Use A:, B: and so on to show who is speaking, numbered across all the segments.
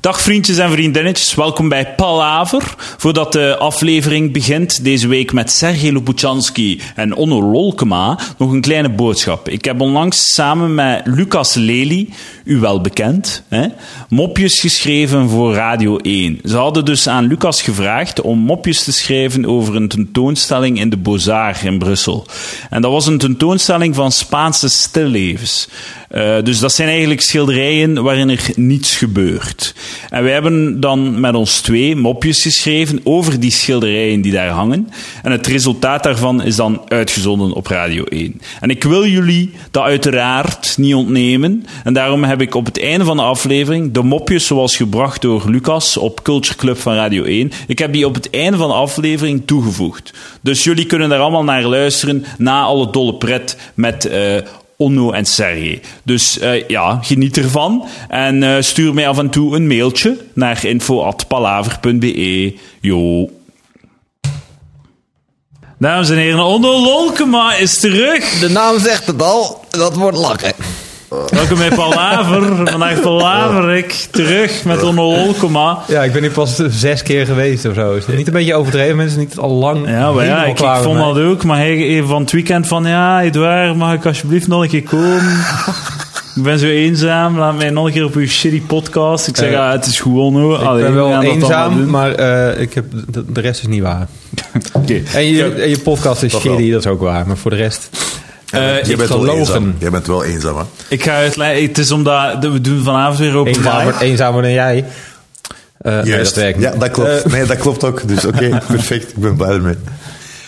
A: Dag vriendjes en vriendinnetjes, welkom bij Palaver. Voordat de aflevering begint, deze week met Sergej Lopushansky en Onno Lolkema, nog een kleine boodschap. Ik heb onlangs samen met Lucas Lely, u wel bekend, hè, mopjes geschreven voor Radio 1. Ze hadden dus aan Lucas gevraagd om mopjes te schrijven over een tentoonstelling in de Beaux-Arts in Brussel. En dat was een tentoonstelling van Spaanse stillevens. Eh, dus dat zijn eigenlijk schilderijen waarin er niets gebeurt. En wij hebben dan met ons twee mopjes geschreven over die schilderijen die daar hangen. En het resultaat daarvan is dan uitgezonden op Radio 1. En ik wil jullie dat uiteraard niet ontnemen. En daarom heb ik op het einde van de aflevering de mopjes zoals gebracht door Lucas op Culture Club van Radio 1. Ik heb die op het einde van de aflevering toegevoegd. Dus jullie kunnen daar allemaal naar luisteren na alle dolle pret met eh, Onno en Sergej. Dus eh, ja, geniet ervan. En eh, stuur mij af en toe een mailtje naar info.palaver.be. Jo. Dames en heren, Onno Lolkema is terug.
B: De naam zegt het al, dat wordt lachen.
A: Welkom bij Palaver. Vandaag Palaver ik terug met Onno Lolkema.
C: Ja, ik ben nu pas zes keer geweest of zo. Is dat niet een beetje overdreven? Mensen zijn niet al lang.
A: Ja, maar ja,
C: helemaal
A: ik, ik
C: klaar
A: vond
C: met mij.
A: dat ook. Maar hij, hij van het weekend van, ja, Edouard, mag ik alsjeblieft nog een keer komen? Ik ben zo eenzaam, laat mij nog een keer op uw shitty podcast. Ik zeg,
C: Eh,
A: ja, het is gewoon hoor.
C: Ik ben wel eenzaam, maar eh, ik heb, de, de rest is niet waar. En je, en je podcast is
D: Toch wel.
C: shitty, dat is ook waar. Maar voor de rest...
A: Eh,
D: Jij bent wel
C: gelogen.
D: eenzaam. Jij bent wel eenzaam, hè?
A: Ik ga uitleggen, het is omdat we doen vanavond weer open
C: Eenzamer,
A: mic.
C: eenzamer dan jij. Eh, nee, dat
D: Juist.
C: werkt niet.
D: Ja, dat klopt.
C: Eh,
D: nee, dat klopt ook. Dus oké, perfect. Ik ben blij ermee.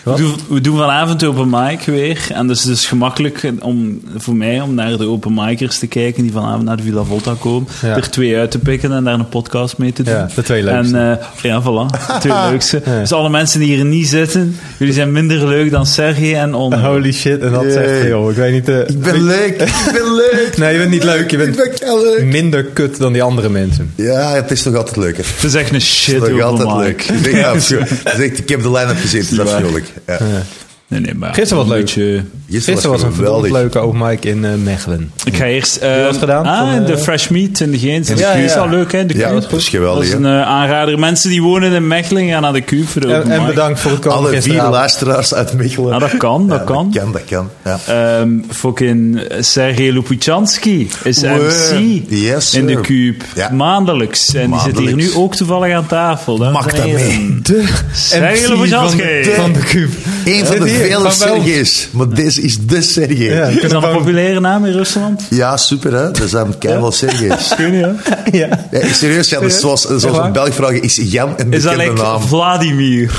A: We doen, we doen vanavond open mic weer. En dus het is gemakkelijk om, voor mij om naar de open micers te kijken die vanavond naar de Villa Volta komen.
C: Ja.
A: Er twee uit te pikken en daar een podcast mee te doen.
C: Ja, de twee leukste.
A: En eh, ja, voilà. De twee leukste. Dus alle mensen die hier niet zitten, jullie zijn minder leuk dan Sergej en On.
C: holy shit, en dat zegt
D: Yay.
C: hij, joh. Ik weet niet... eh,
D: Ik ben leuk. Ik ben leuk.
C: Nee, je bent niet leuk. Je
D: Ik
C: bent
D: ben wel leuk.
C: minder kut dan die andere mensen.
D: Ja, het is nog altijd leuker.
A: Het is echt een shit
D: Het is nog
A: open
D: altijd
A: mic.
D: leuk. Ik, denk, ja, absoluut. Het is echt- ik heb de line-up gezeten, dat is vrolijk. Ja.
A: Nee, nee, maar
C: Gisteren was
A: een
C: leuk.
A: beetje-
C: Gisteren was een verdomd
D: geweldig.
C: leuke open mic in eh, Mechelen.
A: Ik ga eerst... eh,
C: wat gedaan?
A: Ah,
C: Van, eh,
A: de Fresh Meat in de Geens.
C: Ja,
A: de Q is
C: ja.
A: al leuk, hè? De
D: Ja,
A: Q.
D: dat is
A: Dat
D: geweldig.
A: is
D: hè?
A: een eh, aanrader. Mensen die wonen in Mechelen gaan naar de Q voor de
C: En,
A: open
C: en
A: mic.
C: bedankt voor het komen
D: Alle vier
C: gisteravond.
D: luisteraars uit Mechelen.
A: Ah, dat kan, dat
D: Ja,
A: kan.
D: Dat kan, dat kan. Ja.
A: Ehm, fucking Sergej Lopushansky is
D: Wow.
A: MC
D: Yes,
A: in de
D: sir.
A: Cube.
D: Ja.
A: Maandelijks. En die zit hier
D: Maandelijks.
A: nu ook toevallig aan tafel. dames
D: Mag
A: en
D: dat
A: heren.
D: mee?
C: De
A: Sergej
C: MC
A: Lobozhansky.
C: van de- van de Cube.
D: Eén van
C: Zit
D: de
C: hier,
D: vele
C: Eh, van bij ons.
D: Sergeus. Maar deze is de Sergej.
C: Ja,
D: Ja.
A: Is dat een populaire naam in Rusland?
D: super hè. Er zijn keihard Sergeus.
A: Ik weet niet, hè.
C: Ja.
D: Ja, serieus, ja, dus zoals, zoals
C: waar?
D: een Belg vragen, is Jan een
A: Is dat
D: bekende
A: like
D: naam?
A: Vladimir?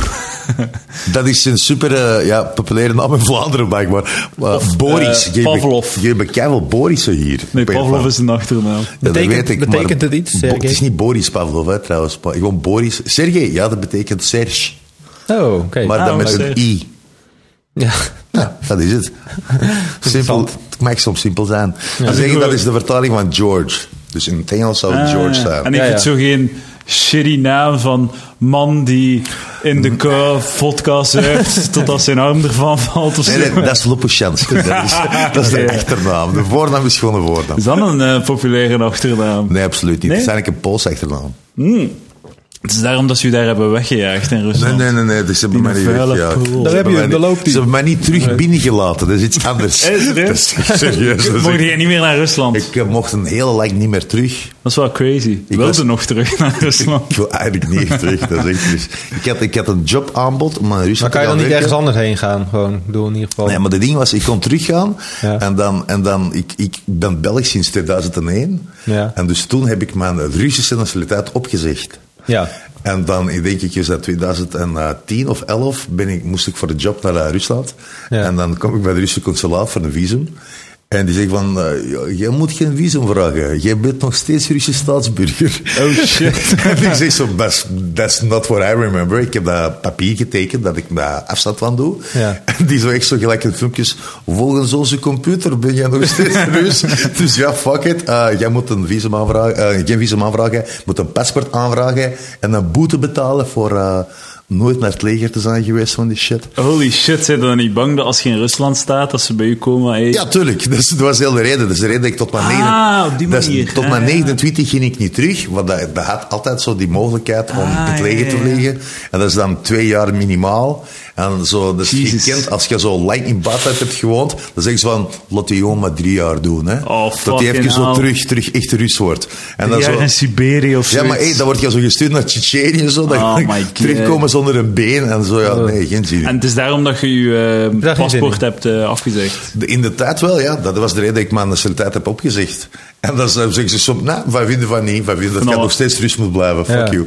D: Dat is een super eh, ja, populaire naam in Vlaanderen, blijkbaar. Maar Boris.
A: eh,
D: je
A: Pavlov.
D: Je bekijkt wel Boris hier.
A: Nee,
D: Op een of
A: Pavlov
D: andere-
A: is een achternaam.
D: Ja, dat
C: Betekent-
D: weet ik, maar
C: betekent het iets,
D: Bo-
C: Sergej?
D: Het is niet Boris Pavlov, hè, trouwens. Maar gewoon Boris. Sergej, ja, dat betekent Serge.
C: Oh, oké.
D: Maar
A: Ah,
D: dan met
A: Serge.
D: een i.
C: Ja.
D: Ja, dat is het. Simpel. Het mag soms simpel zijn. Ze zeggen dat is de vertaling van George. Dus in het Engels zou het
A: Ah,
D: George
A: ja.
D: zijn.
A: En ik
C: Ja,
A: vind
C: ja.
A: zo geen shitty naam van man die in
D: Mm.
A: de kou vodka zuigt totdat zijn arm ervan valt of zo.
D: Nee, nee, dat is Lopushansky. Dat is, dat is de
A: Oké.
D: achternaam. De voornaam is gewoon een voornaam.
A: Is dat een eh, populaire achternaam?
D: Nee, absoluut niet.
A: Nee?
D: Het is eigenlijk een Pools achternaam.
A: Het is daarom dat ze u daar hebben weggejaagd in
D: Nee,
A: Rusland.
D: nee, nee, nee. Dus ze hebben mij niet
A: vuile
D: weggejaagd.
A: pool.
D: Ze
C: Daar heb
D: hebben
C: je
D: mij
C: hem, daar
D: niet-
C: loopt hij.
D: Ze hebben mij niet terug binnengelaten. Dat is iets anders.
A: Is het, hè?
D: Dat is echt serieus. Dat is
A: Mocht
D: echt-
A: jij niet meer naar Rusland?
D: ik eh, mocht een hele lang niet meer terug.
A: Dat is wel crazy.
D: Ik
A: Wilde
D: was-
A: nog terug naar Rusland.
D: Ik wil eigenlijk niet echt terug. Dat is echt dus. ik, had, ik had een jobaanbod om naar
C: Maar
D: Rusland
C: kan je dan
D: te
C: niet
D: gaan werken.
C: ergens anders heen gaan? Gewoon, Ik bedoel in ieder geval.
D: Nee, maar de ding was, ik kon teruggaan.
C: Ja.
D: En dan, en dan ik, ik ben Belg sinds 2001.
C: Ja.
D: En dus toen heb ik mijn Russische nationaliteit opgezegd.
C: Ja.
D: En dan, ik denk ik, is dat 2010 of 11, ben ik, moest ik voor de job naar eh, Rusland.
C: Ja.
D: En dan kom ik bij de Russische consulaat voor een visum. En die zegt van, eh, "Ja, jij moet geen visum vragen. Jij bent nog steeds Russisch staatsburger.
A: Oh shit.
D: en ik zeg zo, that's, that's not what I remember. Ik heb dat papier getekend dat ik daar afstand van doe.
C: Ja.
D: En die zo echt zo gelijk in filmpjes, volgens onze computer ben jij nog steeds Rus. dus ja, fuck it. Eh, jij moet een visum aanvragen, eh, geen visum aanvragen, je moet een paspoort aanvragen en een boete betalen voor... eh, nooit naar het leger te zijn geweest van die shit.
A: Holy shit, zijn dan niet bang dat als je in Rusland staat, dat ze bij u komen? Hey.
D: Ja, tuurlijk. Dus, dat was heel de reden. Dus de reden dat ik tot mijn,
A: Ah,
D: negen-
A: op die
D: dat is-
A: manier.
D: tot
A: Ja,
D: mijn
A: ja.
D: 29 ging ik niet terug. Want dat, dat had altijd zo die mogelijkheid om
A: Ah,
D: in het leger
A: ja,
D: te
A: ja, ja.
D: liggen. En dat is dan twee jaar minimaal. En zo, dus je
A: Jezus.
D: kent, als je zo lang in Badheid hebt gewoond, dan zeg je zo van, laat die jongen maar drie jaar doen. Hè.
A: Oh,
D: dat die
A: fucking
D: even zo
A: hell.
D: terug, terug echt Rus wordt. En
A: Een
D: dan
A: jaar
D: zo,
A: in Siberië of zo.
D: ja, maar hey, dan word je zo gestuurd naar Tsjetsjenië en zo. Dan
A: Oh my God. Oh.
D: terugkomen zonder een been en zo. Ja, nee, geen zin in.
A: En het is daarom dat je je eh,
C: Daar geen
A: paspoort
C: zin
A: hebt eh, afgezegd.
D: De- In de tijd wel, ja. Dat was de reden dat ik mijn nationaliteit heb opgezegd. En dan zeggen ze soms, nou, wij vinden van niet, wij vinden dat jij
A: Nou.
D: nog steeds Rus moet blijven, fuck
C: Ja.
D: you.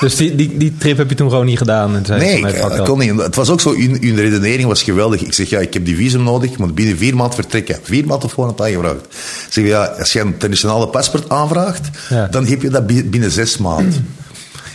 C: Dus die, die, die trip heb je toen gewoon niet gedaan? En zei,
D: Nee,
C: nee,
D: ik, eh,
C: fuck dat.
D: kon niet. Het was ook zo, hun, hun redenering was geweldig. Ik zeg, ja, ik heb die visum nodig, ik moet binnen vier maanden vertrekken. Vier maanden voor het aangevraagd. Ik zeg, ja, als je een internationale paspoort aanvraagt,
C: Ja.
D: dan heb je dat bi- binnen zes maanden.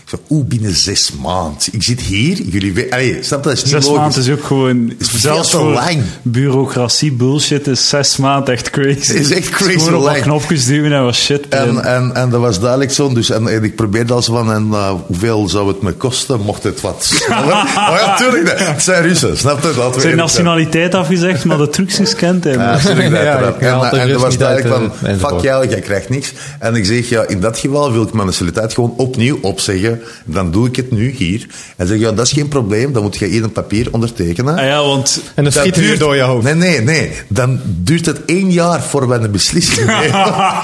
D: Ik zeg, oeh, binnen zes maanden. Ik zit hier, jullie weten... Allee, snap je, dat is niet
A: Zes
D: logisch.
A: maanden is ook gewoon...
D: Is veel
A: zelfs
D: te
A: voor
D: lang.
A: bureaucratie bullshit is zes maanden echt crazy.
D: Is echt crazy
A: Gewoon op wat
D: lang.
A: knopjes duwen en wat shit.
D: En, eh,
A: plannen.
D: en, en dat was duidelijk zo. Dus, en, en ik probeerde al zo van, en, eh, hoeveel zou het me kosten, mocht het wat sneller? oh ja, tuurlijk. nee. Het zijn Russen, snap je? Laten we
A: Zijn
D: eerlijk zijn.
A: nationaliteit afgezegd, maar de trucjes kent hij.
D: Ja, tuurlijk,
C: Ja,
D: uiteraard.
C: ik haal de
D: en, en er
C: Rus
D: was
C: niet
D: duidelijk
C: uit, eh,
D: van, fuck
C: enzovoort.
D: jou, jij krijgt niks. En ik zeg, ja, in dat geval wil ik mijn nationaliteit gewoon opnieuw opzeggen. Dan doe ik het nu hier. En zeg, ja, dat is geen probleem, dan moet je hier een papier ondertekenen.
A: Ah ja, want...
C: En dan schiet hij weer door je hoofd.
D: Nee, nee, nee. Dan duurt het één jaar voor we een beslissing nemen.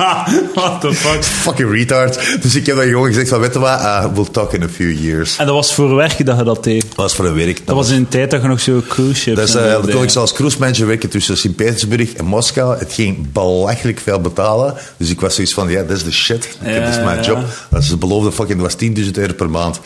A: What the fuck?
D: Fucking retard. Dus ik heb dat gewoon gezegd van, weet je wat, Ah, we'll talk in a few years.
A: En dat was voor werk dat je dat deed.
D: Dat was voor een werk.
A: Dat was in een tijd dat je nog zo cruise ships...
D: Dat is,
A: en
D: eh,
A: zo
D: dan
A: deed.
D: kon ik als cruise manager werken tussen Sint-Petersburg en Moskou. Het ging belachelijk veel betalen. Dus ik was zoiets van, ja, dat is de shit. Ik heb-
A: Ja,
D: Dat is mijn
A: ja.
D: job. Dat is de beloofde fucking, dat was 10.000 euro per maand.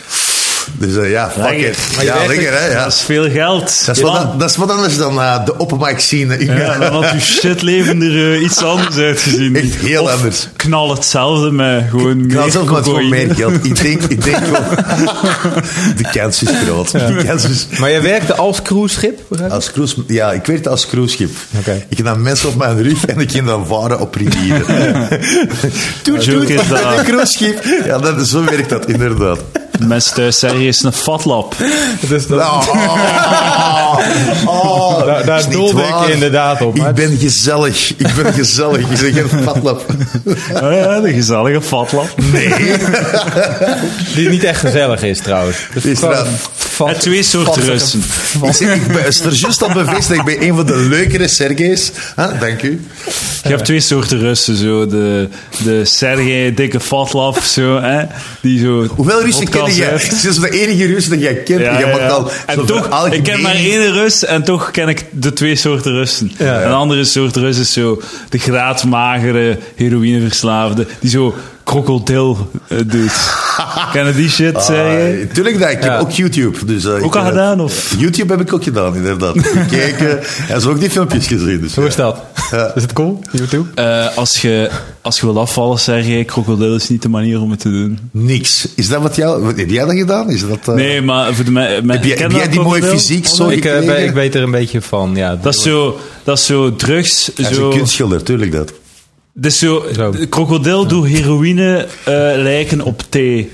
D: Dus eh, ja, fuck
A: Lekker.
D: it.
A: Maar je
D: Ja,
A: werkt
D: lekker hè. Ja.
A: Dat is veel geld.
D: Dat, is wat, dat is wat anders dan eh, de open mic scene. in-
A: Ja, dan had je shitlevend er eh, iets anders uitgezien.
D: Echt heel
A: Of
D: anders.
A: knal hetzelfde met gewoon meer
D: Ik had zelf maar gewoon
A: cocaïne.
D: meer geld. Ik denk, ik denk wel. De kans is groot. De kans is
C: Maar jij werkte als cruiseschip? begrijp ik?
D: Als cruise, ja, ik werkte als cruiseschip.
C: Oké.
D: Ik nam mensen op mijn rug en ik ging dan varen op rivieren. Toet,
A: Joke
D: toet,
A: is dat.
D: een cruiseschip. Ja, dat, is- zo werkt dat inderdaad.
A: Mensen thuis zeggen, hier is een fatlap.
C: Dus dat,
D: Oh, oh, oh,
C: Daar- daar
D: is niet
C: doelde ik
D: waar.
C: inderdaad op, maar
D: Ik
C: het-
D: ben gezellig. Ik ben gezellig. Ik zeg geen fatlap.
A: Ah ja, de gezellige fatlap.
D: Nee.
C: die niet echt gezellig is trouwens. Dus
D: Is
C: gewoon
D: dat-
C: fuck-
A: En twee soorten
C: fuck-
A: Russen.
D: Ik, zeg, ik ben is er juist al bevestigd. Ik ben een van de leukere Sergeis. Huh, dank u.
A: Je hebt twee soorten Russen. Zo de, de Sergei, dikke fatlap. Zo, hè, die zo
D: Hoeveel Russen
A: vodka
D: ken jij?
A: zuipt.
D: Het is de enige Rus dat jij kent.
A: Ja,
D: je
A: ja,
D: mag
A: ja.
D: al
A: en
D: zo'n
A: toch, ik ken
D: veralgemeen-
A: maar één Rus en toch ken ik de twee soorten Russen.
C: Ja.
A: Een andere soort Rus is zo de graadmagere heroïneverslaafde die zo krokodil eh, doet. Kennen die shit, zeg je?
D: Ah, tuurlijk dat. Ik
C: Ja.
D: heb ook YouTube. Dus, eh,
A: Ook
D: ik
A: al
D: ken het.
A: gedaan, of?
D: YouTube heb ik ook gedaan, inderdaad. Gekeken. en zo ook die filmpjes gezien. Dus,
C: Hoe
D: ja.
C: is dat?
D: Ja.
C: Is het cool? YouTube?
A: Eh, als, je, als je wil afvallen, zeg je, krokodil is niet de manier om het te doen.
D: Niks. Is dat wat jou... wat- Heb jij dat gedaan? Is dat... eh,
A: Nee, maar voor de mensen...
D: Heb jij, heb jij die mooie fysiek zo
C: ik, eh,
D: gekregen?
C: ben- ik weet er een beetje van, ja. Oh,
A: Dat is zo, dat is zo drugs.
D: Hij is
A: zo,
D: een kunstschilder, tuurlijk dat.
A: Dus zo,
C: Zo.
A: de krokodil doet heroïne eh, lijken op thee.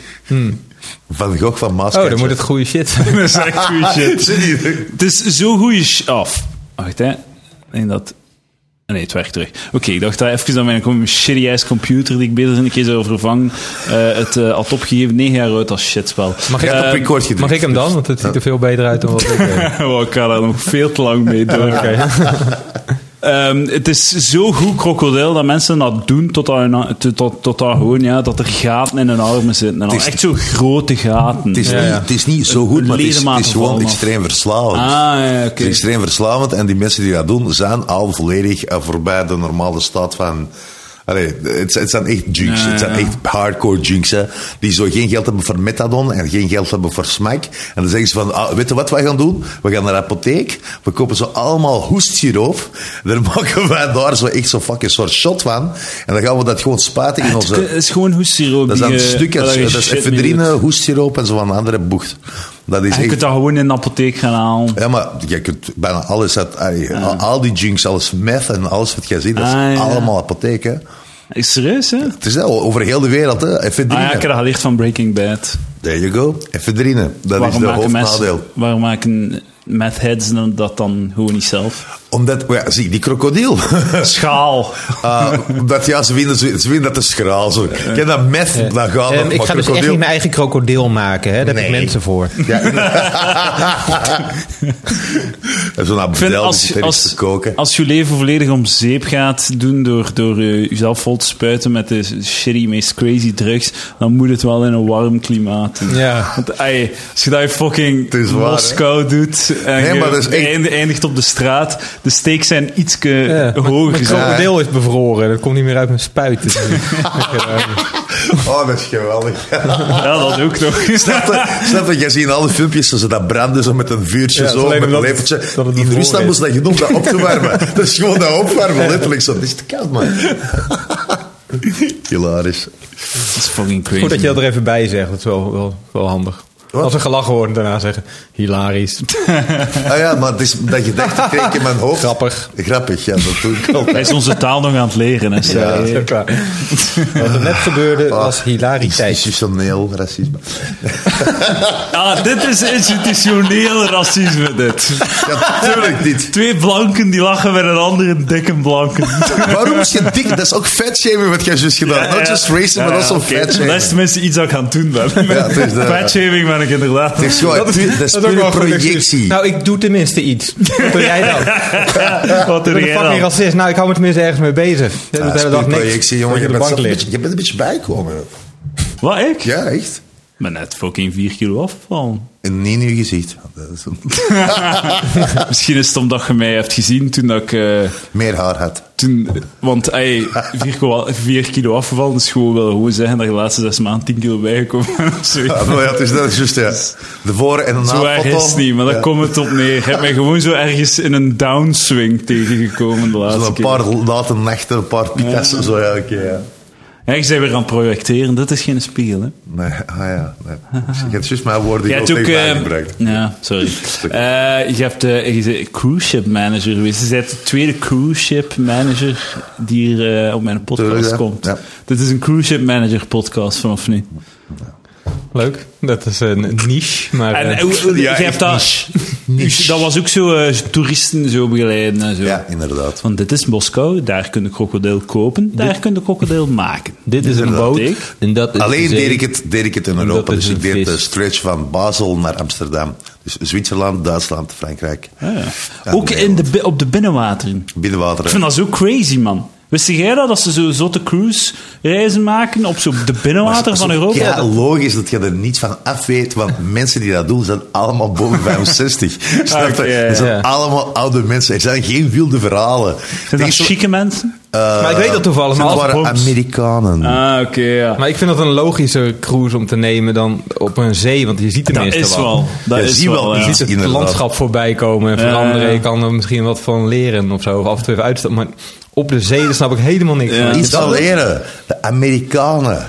D: Van Gogh van Maaskantje.
C: Oh, dan moet het Ah, goede shit zijn.
A: Dat is echt goede shit.
D: Zie je?
A: Het is zo goeie sh- af. Wacht, hè. Ik denk dat... Nee, het werkt terug. Oké, ik dacht dat even aan mijn shitty-ass computer, die ik beter een keer zou vervangen, eh, het eh, had opgegeven negen jaar oud als shitspel.
C: Mag
D: Jij
C: ik,
D: hebt op
C: eh,
D: record gedrukt.
C: mag ik hem dan? Want het ziet er veel beter uit dan wat ik eh,
A: Wow, ik ga daar nog veel te lang mee door. Ehm, het is zo goed krokodil dat mensen dat doen totdat hun- tot, tot, tot dat gewoon, ja, dat er gaten in hun armen zitten. En dan
D: Het is-
A: echt zo grote gaten.
D: Het is,
C: Ja,
D: niet,
C: ja.
D: het is niet zo goed, maar het is, het
A: Ledematen
D: is gewoon
A: vallen af.
D: extreem verslavend.
A: Ah, ja,
D: Het
A: oké.
D: is extreem verslavend en die mensen die dat doen zijn al volledig eh, voorbij de normale staat van. Allee, het, zijn- het zijn echt junks.
A: Ja,
D: het zijn
A: ja.
D: echt hardcore junks. Hè, die zo geen geld hebben voor methadon en geen geld hebben voor smaak. En dan zeggen ze van, ah, weet je wat wij gaan doen? We gaan naar de apotheek. We kopen zo allemaal hoestsiroop. Dan maken wij daar zo echt zo'n fucking soort shot van. En dan gaan we dat gewoon spuiten in
A: Ah, Het
D: onze...
A: is gewoon hoessiroop.
D: Dat is
A: die
D: dan
A: je-
D: stukjes.
A: waar je
D: Dat is
A: shit mee doet.
D: efedrine, hoestsiroop en zo van een andere bocht. Dat is
A: En je kunt
D: echt...
A: dat gewoon in de apotheek gaan halen.
D: Ja, maar je kunt bijna alles uit... allee, al- Al die junks, alles meth en alles wat jij ziet, dat is
A: Ah, ja.
D: allemaal apotheken.
A: Is serieus, hè?
D: Het is dat, over heel de wereld, hè. Efedrine.
A: Ah ja, ik heb dat geleerd van Breaking Bad.
D: There you go. Efedrine. Dat is
A: waarom,
D: de
A: maken mensen,
D: hoofdnadeel.
A: waarom maken meth heads dan- dat dan gewoon niet zelf?
D: Omdat, ja, zie, die krokodil.
A: Schaal.
D: Ah, omdat, ja, ze vinden, ze vinden dat te schraal. Zo. Ken dat meth, dan gaan we
C: Ehm, ik ga dus echt niet mijn eigen krokodil maken. Hè? Daar heb ik
D: Nee.
C: mensen voor.
D: Ja. en zo'n
A: Ik vind
D: abdel
A: als,
D: als,
A: als,
D: te koken.
A: als je leven volledig om zeep gaat doen door, door eh, jezelf vol te spuiten met de shitty, meest crazy drugs, dan moet het wel in een warm klimaat. doen.
C: Ja.
A: Want ey, als je dat in fucking
D: Het is waar, hè?
A: Moskou doet en
D: Nee,
A: je
D: maar dat is echt-
A: eind- eindigt op de straat, de steeks zijn ietske hoger.
C: Mijn
A: Ja.
C: krokodil is bevroren. Dat komt niet meer uit mijn spuit. Dus-
D: Oh, dat is geweldig.
A: Ja, dat ook nog.
D: Snap je? Snap je? Jij ziet in alle filmpjes dat ze dat branden zo met een vuurtje,
C: Ja, het is
D: zo,
C: alleen
D: met een
C: omdat het-
D: lepeltje.
C: dat het
D: In
C: bevroren
D: Rusland
C: is.
D: moest dat genoemd dat op te warmen. dat is gewoon dat opwarmen, letterlijk zo. Dat is te koud, man. Hilarisch.
A: Dat is fucking crazy.
C: Goed dat je dat er even bij zegt. Dat is wel, wel, wel handig.
D: Wat?
C: Als er gelachen wordt, daarna zeggen... Hilarisch.
D: Ah ja, maar het is dat gedachte kreeg ik in mijn hoofd.
C: Grappig.
D: Grappig, ja, dat doe ik
A: Hij
D: altijd.
A: is onze taal nog aan het leren. Hè,
D: Ja.
A: Sarah.
C: Dat is ook waar. Wat er net gebeurde was hilariteit.
D: Institutioneel racisme.
A: Ah, dit is institutioneel racisme, dit.
D: Ja, natuurlijk niet.
A: Twee blanken die lachen met een andere dikke blanken.
D: Waarom is je dik? Dat is ook fatshaming wat jij juist gedaan. Not just racism, maar also
A: oké.
D: fatshaming.
A: Dat is tenminste iets dat ik aan het doen ben.
D: het is de-
A: Fatshaming ben ik inderdaad.
D: Het is gewoon dat is, dat is
C: ook
D: pure
C: wel een goed excuus.
D: projectie.
C: Nou, ik doe tenminste iets. Wat doe jij dan?
A: Wat er
C: Ik ben een fucking racist. Nou, ik hou me tenminste ergens mee bezig. Ja,
D: Ja,
C: de
D: dat is
C: hele dag
D: pure
C: niks.
D: projectie, Eh, jongen.
C: Dat
D: Je
C: je op
D: bent,
C: de
D: zelf
C: bank
D: een
C: ligt.
D: beetje, je bent een beetje bijkomen.
A: Wat, ik?
D: Ja, echt.
A: Ik ben net fucking 4 kilo afgevallen.
D: En niet in je gezicht. Dat is een-
A: Misschien is het omdat je mij hebt gezien toen dat ik... eh,
D: Meer haar had.
A: toen, want ey, 4 kilo, vier kilo afgevallen is gewoon wel gewoon zeggen dat je de laatste 6 maanden 10 kilo bijgekomen bent of zoiets.
D: Ja, maar Ah, ja, het is, dat is juist, ja. De voor- en de na
A: Zo erg is het niet, maar daar komt het op neer. Je hebt mij gewoon zo ergens in een downswing tegengekomen de
D: Zo'n
A: laatste
D: een
A: keer.
D: paar late nachten, een paar pita's en zo elke keer. Ja.
A: Ja, ik zei weer aan het projecteren, dat is geen spiegel, hè.
D: Nee, ah ja. Nee. Je hebt juist mijn woorden
A: Je
D: die ik
A: hebt ook...
D: tegen mij
A: eh,
D: gebruikt.
A: ja, sorry. Eh, je hebt eh, je bent cruise ship manager geweest. Je bent de tweede cruise ship manager die hier eh, op mijn podcast
D: Tuurlijk, ja.
A: komt.
D: Ja.
A: Dit is een cruise ship manager podcast vanaf nu.
C: Leuk. Dat is een niche, maar...
A: En
C: eh,
A: hoe- hoe-
D: Ja,
A: je hebt
D: echt
A: dat... Dat was ook zo eh, toeristen zo begeleiden en zo.
D: Ja, inderdaad.
A: Want dit is Moskou, daar kun je krokodil kopen, daar kun je krokodil maken.
C: dit is een
A: Inderdaad.
C: boot. En dat is
A: dus,
D: Alleen
A: eh,
C: de zee.
D: deed ik, het, deed ik het in Europa.
C: dat is
D: Dus
C: een
D: ik deed de
C: vis.
D: stretch van Basel naar Amsterdam. Dus Zwitserland, Duitsland, Frankrijk.
A: Ah, ja.
D: Ja,
A: ook in
D: Nederland.
A: de, bi- op de binnenwateren. Ik
D: Binnenwater.
A: vind dat zo crazy, man. Wist jij dat, dat ze zo zotte cruise reizen maken op zo de binnenwater van Europa?
D: Ja, logisch dat je er niets van af weet, want mensen die dat doen zijn allemaal boven 65. Snap je?
A: Oké, ja,
D: Dat zijn
C: ja.
D: allemaal oude mensen. Er zijn geen wilde verhalen.
A: Zijn dat
D: Denk zo-
A: chique mensen?
D: Eh,
C: Maar ik weet dat toevallig, maar
D: Het
C: als
D: waren
C: Bob's-
D: Amerikanen.
A: Ah, oké, ja.
C: Maar ik vind dat een logische cruise om te nemen dan op een zee, want je ziet
A: Dat
C: tenminste
A: is
C: wat.
A: wel. Dat
D: Ja,
A: is
D: zie
A: wel,
D: wel
A: ja.
D: iets.
C: Het
D: Inderdaad.
C: landschap voorbij komen en veranderen.
A: Ja, ja.
C: Je kan er misschien wat van leren of zo. Of af en toe even uitstappen. Maar op de zee, daar snap ik helemaal niks
A: Ja.
C: van.
D: Iets
C: Dat-
D: al leren. De Amerikanen. Eh,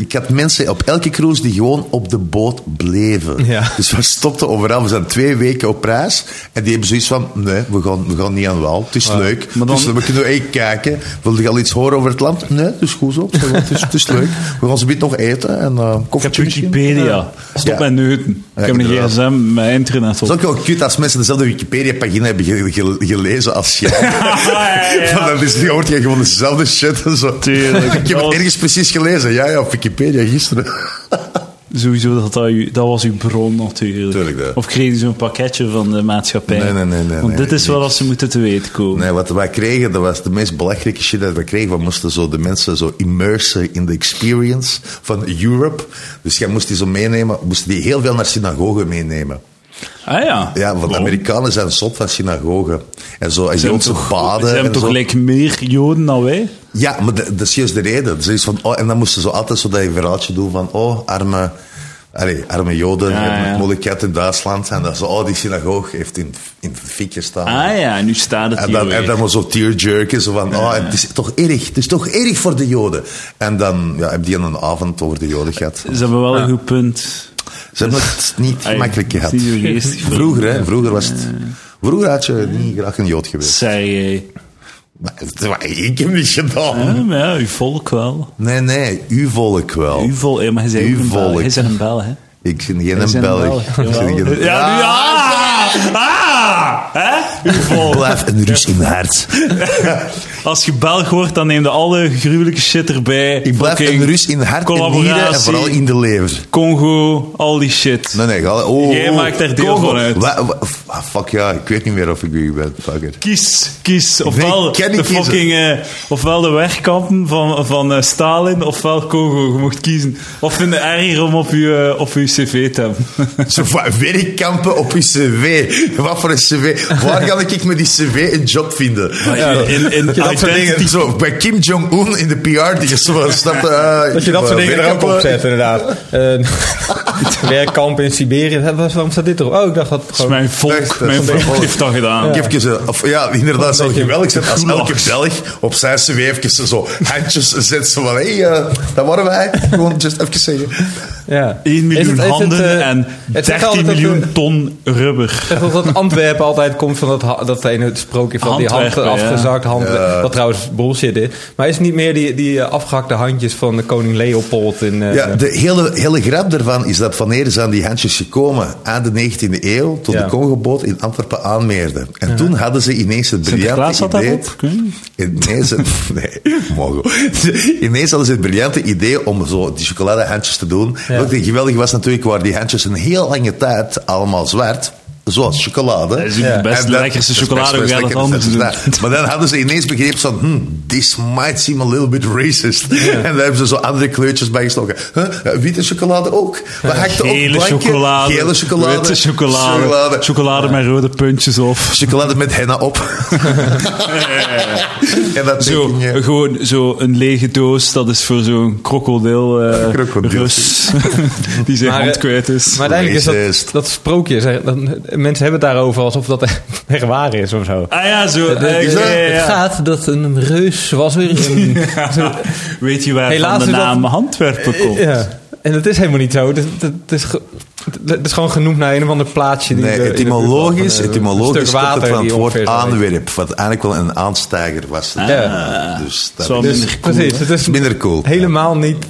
D: Ik had mensen op elke cruise die gewoon op de boot bleven.
C: Ja.
D: Dus we stopten overal. We zijn twee weken op reis. En die hebben zoiets van, nee, we gaan, we gaan niet aan wal. Het is leuk.
A: Maar dan-
D: Dus we kunnen even kijken. Wil je al iets horen over het land? Nee, het is goed zo. Het is, het is leuk. We gaan ze beetje nog eten. En, eh
A: Ik heb
D: koffietje misschien.
A: Wikipedia. Stop
D: Ja.
A: met neuten.
D: Ja,
A: ik heb een
D: inderdaad.
A: gsm, mijn internet
D: Het
A: op.
D: is ook wel cute als mensen dezelfde Wikipedia-pagina hebben ge- ge- gelezen als jij.
A: ja.
D: Want Dan, is, dan hoort je gewoon dezelfde shit en zo.
A: Tuurlijk.
D: Ik heb
A: Dat was-
D: het ergens precies gelezen. Ja, ja, op Wikipedia gisteren.
A: Sowieso, dat, dat, u- dat was uw bron natuurlijk.
D: Tuurlijk, ja.
A: Of kreeg u zo'n pakketje van de maatschappij?
D: Nee, nee, nee, nee,
A: Want
D: nee,
A: dit is wel wat ze moeten te weten komen.
D: Nee, wat wij kregen, dat was de meest belachelijke shit dat we kregen. We moesten zo de mensen zo immersen in de experience van Europe. Dus jij moest die zo meenemen. Moesten die heel veel naar synagogen meenemen.
A: Ah ja.
D: Ja, want de
A: Waarom?
D: Amerikanen zijn zot van synagogen. En zo, en
A: Ze hebben
D: Joodse
A: toch,
D: baden.
A: ze hebben
D: en
A: toch
D: zo.
A: gelijk meer Joden dan wij?
D: Ja, maar dat dat is juist de reden. Zoiets van, oh, en dan moesten ze altijd zo dat je verhaaltje doen van, oh, arme, allee, arme Joden,
A: Ja,
D: je hebt
A: ja.
D: het moeilijk gehad in Duitsland. En dan zo, oh, die synagoog heeft in, in fik gestaan.
A: Ah ja, nu staat het
D: En
A: hier
D: dan,
A: weer.
D: en dan was zo tearjerken, zo van, oh, het is toch erg, het is toch erg voor de Joden. En dan ja, heb die een avond over de Joden gehad.
A: Ze hebben wel een goed punt.
D: Ze hebben het niet
A: Ai,
D: gemakkelijk gehad.
A: zie je, geestig.
D: Vroeger, hè, vroeger was het... Vroeger had je niet graag een Jood geweest.
A: Serieus.
D: Maar het is wat ik heb niet gedaan.
A: Ja, Ah, maar ja, uw volk wel.
D: Nee, nee, uw volk wel.
A: Uw volk, ja, maar hij
D: Uw
A: zijn een Belg.
D: volk.
A: Hij zijn een Belg, hè?
D: Ik ben geen
A: Hij
D: een
A: zijn een
D: Belg.
A: Belg,
D: Ik ben
A: jawel.
D: geen-
A: Ja, nu, ah! Ah! Hè? Uw volk.
D: Blijf een rust in mijn hart.
A: Als je Belg wordt, dan neem je alle gruwelijke shit erbij.
D: Ik blijf
A: Fucking
D: een rust in hart en nieren en
A: collaboratie,
D: vooral in de lever.
A: Congo, al die shit.
D: Nee, nee, ga- oh,
A: Jij
D: oh,
A: maakt daar deel
D: Congo.
A: van uit.
D: Wa- wa- f- ah, fuck ja, ik weet niet meer of ik wie ben. Fuck it.
A: Kies, kies. Ofwel
D: kan niet
A: de
D: kiezen.
A: fucking... eh, ofwel de werkkampen van, van eh, Stalin, ofwel Congo. Je mocht kiezen. Of vind je erger om op je, eh, op je cv te hebben.
D: Zo van werkkampen op je cv. Wat voor een cv? Waar ga ik met die cv een job vinden?
A: in- in- in
D: dat je dat soort
A: identity-
D: dingen, zo, bij Kim Jong-un in de PR, die is zo, snap je, eh,
C: Dat je dat soort
D: eh,
C: dingen er ook
D: werkkampen-
C: op zet, inderdaad. Eh, werkkamp in Siberië. Hè, waar- Waarom staat dit erop? Oh, ik dacht dat het
A: Dat
C: gewoon...
A: is mijn volk.
D: Echt, dat
A: Mijn
D: is mijn
A: volk
D: volk.
A: heeft dat gedaan.
D: Ik heb even, eh, of, ja, inderdaad, zou geweldig zijn als
A: Groen
D: elke
A: lachs.
D: Belg op zijn cv even zo handjes zet. Zo van, hé, hey, eh, dat waren wij. Gewoon just even zeggen.
C: Ja.
A: 1 miljoen
C: Is het- is het,
A: handen
C: eh,
A: en
C: het zegt
A: 13
C: altijd dat
A: miljoen
C: we-
A: ton rubber.
C: Net als dat Antwerpen altijd komt van dat, ha- dat ene het sprookje van die hand
A: Handwerpen, ja.
C: afgezakt hand. Wat trouwens bullshit is. Maar is het niet meer die, die eh, afgehakte handjes van de koning Leopold in... eh,
D: Ja, de hele, hele grap daarvan is dat wanneer zijn die handjes gekomen aan de 19e eeuw tot
C: Ja.
D: de Congoboot in Antwerpen aanmeerde. En toen hadden ze ineens het
A: Sinterklaas
D: briljante
A: had dat
D: idee...
A: op? Kun je?
D: Ineens, nee, mogen. we. Ineens hadden ze het briljante idee om zo die chocoladehandjes te doen.
C: Ja.
D: Wat Wat geweldig was natuurlijk, waren die handjes een heel lange tijd allemaal zwart. Zoals chocolade.
A: Dat is ook de
D: En
A: best
D: dan-
A: lekkerste
D: dat is
A: chocolade,
D: best- best
A: we gaan dat
D: lekker,
A: anders
D: dat is waar. Maar dan hadden ze ineens begrepen van, hmm, this might seem a little bit racist. En daar hebben ze zo andere kleurtjes bij gestoken. Huh? Ja, Witte chocolade ook. We hakten ook
A: Gele
D: blanke,
A: chocolade,
D: gele chocolade,
A: witte chocolade, chocolade,
D: chocolade,
A: met rode puntjes of...
D: chocolade met henna op. en dat
A: Zo,
D: teken je.
A: gewoon zo een lege doos, dat is voor zo'n krokodil, eh,
D: Krokodil.
A: Rus, die zijn
C: Maar, eh,
A: hand kwijt is.
C: Maar uiteindelijk is dat,
D: Racist.
C: dat sprookje. zeg, dat- mensen hebben het daarover alsof dat echt waar is of zo. Dus
A: ah ja, zo. eh,
C: Het-
A: ja, ja,
C: Het
A: ja.
C: gaat dat een reus was weer een... zo-
A: Weet je waar
C: Helaas
A: van de
C: is dat-
A: naam Handwerpen komt?
C: ja. En dat is helemaal niet zo. Het, het, het is, ge- het- het is gewoon genoemd naar een of ander plaatsje. die
D: Nee,
C: er- in de buurt was.
D: etymologisch,
C: Een- een
D: etymologisch
C: stuk
D: komt het
C: water
D: van het
C: die
D: woord
C: ongeveer zo heet.
D: aanwerp, wat eigenlijk wel een aanstijger was.
C: Ja.
D: Dus
A: Zo
D: dat
A: minder
D: is...
C: Dus,
A: cool,
C: precies, het is
D: Minder cool.
C: Helemaal niet.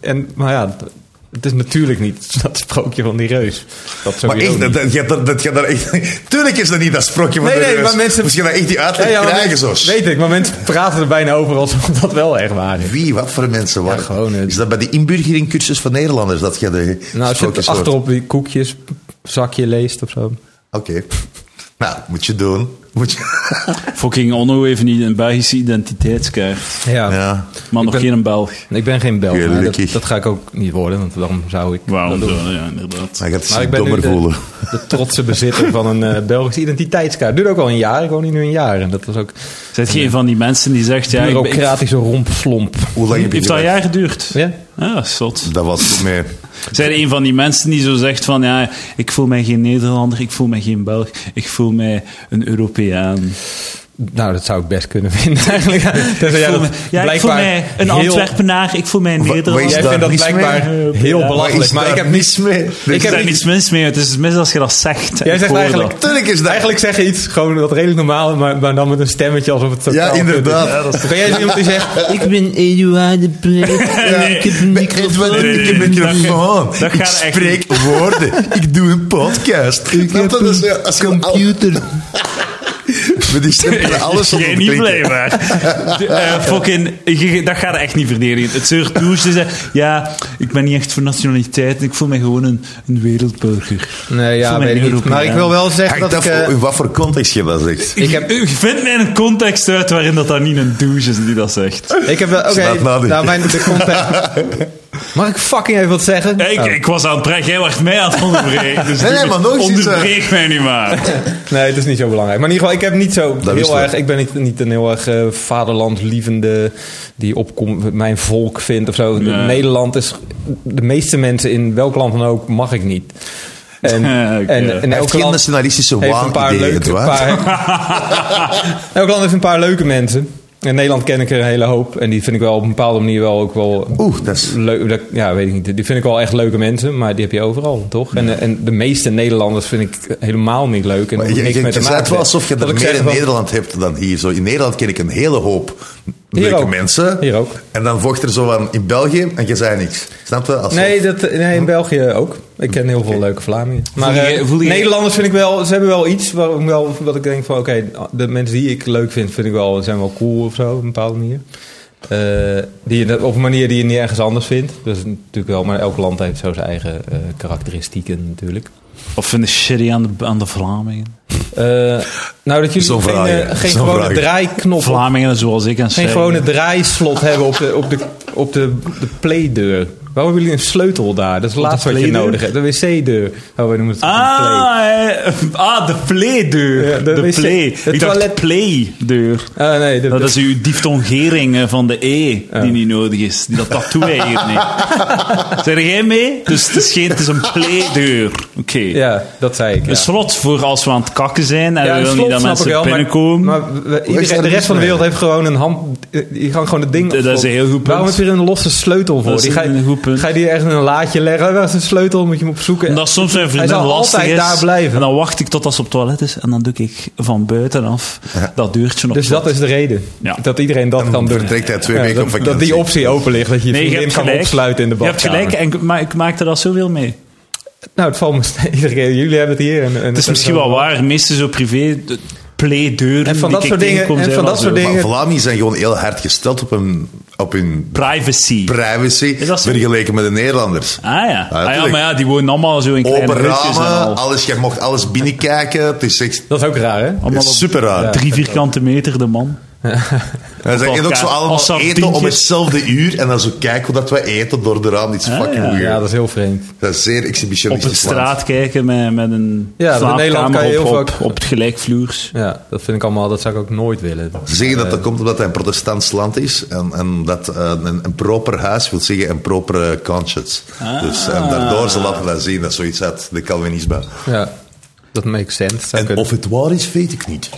C: En, maar ja, het is natuurlijk niet dat sprookje van die reus. Dat
D: Maar
C: sowieso
D: echt, dat,
C: niet.
D: dat, je- dat, dat je daar echt... Tuurlijk is dat niet dat sprookje van
C: Nee,
D: de
C: nee,
D: reus.
C: maar mensen-
D: Moest je daar echt die uitleg
C: Ja, ja, maar
D: krijgen, zo.
C: mensen- Weet ik, maar mensen praten er bijna over alsof dat wel echt waar is.
D: Wie, wat voor mensen waren.
C: gewoon, hè.
D: Is dat bij de inburgeringcursus van Nederlanders dat je de
C: Nou, als je
D: sprookjes
C: het
D: hoort?
C: achterop die koekjes, zakje leest of zo.
D: Oké. Nou, moet je doen. Moet je...
A: Fucking Onno heeft niet een Belgische identiteitskaart.
C: Ja.
D: Ja.
A: Maar
C: Ik
A: nog
C: ben-
A: geen een Belg.
C: Ik ben geen Belg, maar dat,
D: Gelukkig.
C: dat ga ik ook niet worden, want waarom zou ik
A: Waarom
C: dat doen?
A: zo, ja, inderdaad.
D: Dan gaat
C: Maar
D: het
C: ik
D: zich
C: ben nu
D: dommer
C: de,
D: voelen.
C: de trotse bezitter van een eh, Belgische identiteitskaart. Duurt ook al een jaar, ik woon hier nu een jaar. En dat was ook
A: Zet geen van die mensen die zegt... Ja, ik, ben- ik,
C: bureaucratische rompslomp.
D: Hoe lang heb je
A: heeft dat een
D: gewerkt?
A: jaar geduurd?
C: Ja?
A: Ja, zot.
D: Dat was goed mee.
A: Zijn er een van die mensen die zo zegt van ja, ik voel mij geen Nederlander, ik voel mij geen Belg, ik voel mij een Europeaan.
C: Nou, dat zou ik best kunnen vinden eigenlijk.
A: Ik
C: Tenzij jij
A: voel
C: dat
A: mij- ja, ik voel
C: blijkbaar
A: mij een
C: heel-
A: Antwerpenaar, ik voel mij een
D: Wa- wa- is
A: Nederlander.
C: Jij
D: daar
C: vindt dat
D: niets
C: blijkbaar
A: mee?
C: heel
A: Ja.
C: belachelijk. Maar ik heb niets...
D: niets mee.
A: ik
C: Ik
A: heb
C: heb
A: daar
C: niet-
A: niets mis mee, het is mis als je dat zegt.
C: Jij
A: Ik
C: zegt
A: hoor
C: eigenlijk-
A: dat.
D: Tuurlijk is dat...
C: Eigenlijk zeg je iets, gewoon wat redelijk normaal, maar, maar dan met een stemmetje alsof het zo
D: Ja, inderdaad. Ja, dat
C: Kan jij eens iemand die zegt, ik ben
D: Ja.
A: Nee.
D: Ik heb een microfoon. Ik heb een microfoon.
A: Dat gaat- dat
D: ik
A: gaat echt
D: spreek woorden. Ik doe een podcast. Dus Ik heb een computer. We die stemmen alles op
A: Jij
D: elkaar
A: niet
D: klinken.
A: blij maar. Eh, fucking, je- dat gaat echt niet verdedigen. Het zeurt douche ze zeggen, ja, ik ben niet echt voor nationaliteit, ik voel mij gewoon een, een wereldburger.
C: Nee,
A: Ik voel
C: ja,
A: mij
C: weet ik
A: een
C: niet. Maar ik
A: Europeaan.
C: wil wel zeggen
D: Hangt
C: dat ik...
D: af
C: eh,
D: in wat voor context je dat zegt.
C: Ik heb,
A: U vindt mij een context uit waarin dat dan niet een douche is die dat zegt.
C: ik heb wel... Oké,
D: Slaat nadenken.
C: nou, mijn de context- Mag ik fucking even wat zeggen?
A: Ik,
C: Oh.
A: ik was aan het praten, jij werd mij aan het onderbreken. Dus
D: Nee, nee,
A: doe
D: maar
A: me-
D: nog eens
C: eh.
D: iets,
A: Onderbreek mij niet maar.
C: Nee, het is niet zo belangrijk. Maar in ieder geval, ik heb niet zo
D: wisten
C: heel
D: we.
C: erg. Ik ben niet, niet een heel erg eh, vaderlandlievende die opkomt, mijn volk vindt of zo.
A: Nee.
C: Nederland is de meeste mensen in welk land dan ook mag ik niet. En,
A: Ja, oké.
C: en, en
D: Hij heeft
C: elk
D: geen
C: land
D: nationalistische
C: heeft een paar
D: waanideeën,
C: leuke.
D: Edouard.
C: Paar, elk land heeft een paar leuke mensen. In Nederland ken ik er een hele hoop. En die vind ik wel op een bepaalde manier wel ook wel
D: Oeh, dat is-
C: leuk. dat- ja, weet ik niet. Die vind ik wel echt leuke mensen, maar die heb je overal, toch? En, eh, en de meeste Nederlanders vind ik helemaal niet leuk. En
D: Maar
C: hoef
D: je
C: ik niks
D: je,
C: mee te
D: je zei
C: maken
D: het wel alsof je
C: Dat
D: er
C: ik
D: meer
C: zeg
D: in
C: van-
D: Nederland hebt dan hier. Zo, in Nederland ken ik een hele hoop leuke
C: ook.
D: mensen.
C: Hier ook.
D: En dan vocht er zo aan in België en je zei niks. Snap je? Als
C: Nee, dat, nee, in België ook. Ik ken heel veel leuke Vlamingen. Maar
A: Voel je-
C: eh,
A: voel je-
C: Nederlanders vind ik wel, ze hebben wel iets waarom wel, wat ik denk van, oké, de mensen die ik leuk vind, vind ik wel, zijn wel cool of zo, op een bepaalde manier. Eh, die je, dat- op een manier die je niet ergens anders vindt. Dat is natuurlijk wel, maar elk land heeft zo zijn eigen eh, karakteristieken natuurlijk.
A: Of vind je shitty aan de, aan de Vlamingen?
C: Eh, nou, dat jullie
D: Zo'n
C: geen,
D: vraag,
C: eh,
D: hè.
C: geen
D: Zo'n
C: gewone
D: vraag.
C: draaiknop op
A: Vlamingen zoals ik en
C: geen gewone draaislot hebben op de, op de, op de, de playdeur. Waarom hebben jullie een sleutel daar? Dat is het laatste wat je
A: playdeur?
C: nodig hebt. De wc-deur. Oh, we noemen het een play.
A: Ah, eh, ah, de playdeur.
C: Ja, de
A: de,
C: wc.
A: play.
C: De
A: ik
C: toilet-
A: dacht playdeur.
C: Ah, nee, de-
A: Dat
C: de-
A: is uw diftongering eh, van de E die niet nodig is. Die dat tattoo eigenlijk niet. Zijn er geen mee? Dus het is, geen, het is een playdeur. Oké.
C: Ja, dat zei ik. Ja.
A: Een slot voor als we aan het kakken zijn en
C: Ja,
A: we
C: een
A: willen
C: slot
A: niet dat
C: snap
A: mensen
C: ik wel, maar-
A: binnenkomen.
C: Maar, we- we- iedereen,
D: daar
C: de rest
D: niks
C: van de
D: mee?
C: wereld heeft gewoon een hand... eh, Die gaan gewoon het ding
A: Dat
C: op slot.
A: is een heel goed punt.
C: Waarom heb je er een losse sleutel voor?
A: Dat is
C: Die ga, je-
A: een goed punt.
C: ga je die ergens in een laadje leggen? Waar is een sleutel? Moet je hem opzoeken?
A: Omdat soms mijn
C: Hij
A: vriendin
C: zal
A: lastig
C: altijd
A: is.
C: daar blijven.
A: En dan wacht ik tot als ze op het toilet is. En dan doe ik van buitenaf dat deurtje op.
C: Dus dat is de reden.
A: Ja.
C: Dat iedereen dat kan doen.
D: vertrekt hij twee weken
C: dat,
D: op
C: dat
D: vakantie.
C: die optie open ligt. Dat je je
A: Nee, je
C: vriendin
A: hebt
C: kan
A: gelijk.
C: opsluiten in de
A: Je hebt
C: badkamer.
A: gelijk, en, ik- maar ik maakte dat zoveel mee.
C: Nou, het valt me steeds- iedere keer. Jullie hebben het hier. En, en
A: Het is misschien wel waar, meestal zo privé, de playdeuren
C: En van
A: die
C: dat
A: ik
C: soort dingen-
A: tegenkom
C: en
A: zijn
C: van
A: wel
C: dat
A: zo.
C: soort
D: Maar
C: dingen-
D: Vlamingen zijn gewoon heel hard gesteld op hun, op hun
A: Privacy.
D: privacy
A: dat zo?
D: vergeleken met de Nederlanders.
A: ah ja. Ah, ja,
D: natuurlijk.
A: maar ja, die wonen allemaal zo in kleine
D: Open
A: hutjes en
D: ramen,
A: al.
D: alles, je mocht alles binnenkijken. Het is echt
C: Dat is ook raar, hè?
A: Allemaal op
D: super raar.
A: drie vierkante meter, de man.
D: En ze eten ook
A: elkaar. Als
D: zo allemaal eten om
A: sardientjes.
D: hetzelfde uur en dan zo kijken hoe dat wij eten door de raam. Iets
A: Ah,
D: fucking
A: ja.
D: weird.
C: Ja, dat is heel vreemd.
D: Dat is zeer
A: Op het
D: exhibitionistisch. land.
A: straat kijken met, met een
C: Ja, in Nederland kan je
A: slaapkamer op,
C: heel
A: op,
C: vaak-
A: op het gelijkvloers.
C: Ja, dat vind ik allemaal, dat zou ik ook nooit willen.
D: Ze zeggen
A: Eh.
D: dat dat komt omdat het een protestants land is en, en dat eh, een, een proper huis wil zeggen een proper conscience.
A: Ah.
D: Dus, en daardoor ze laten dat zien, dat is zoiets uit de Calvinisme.
C: Ja, dat makes sense. Zou
D: En
C: kunnen.
D: of het waar is, weet ik niet.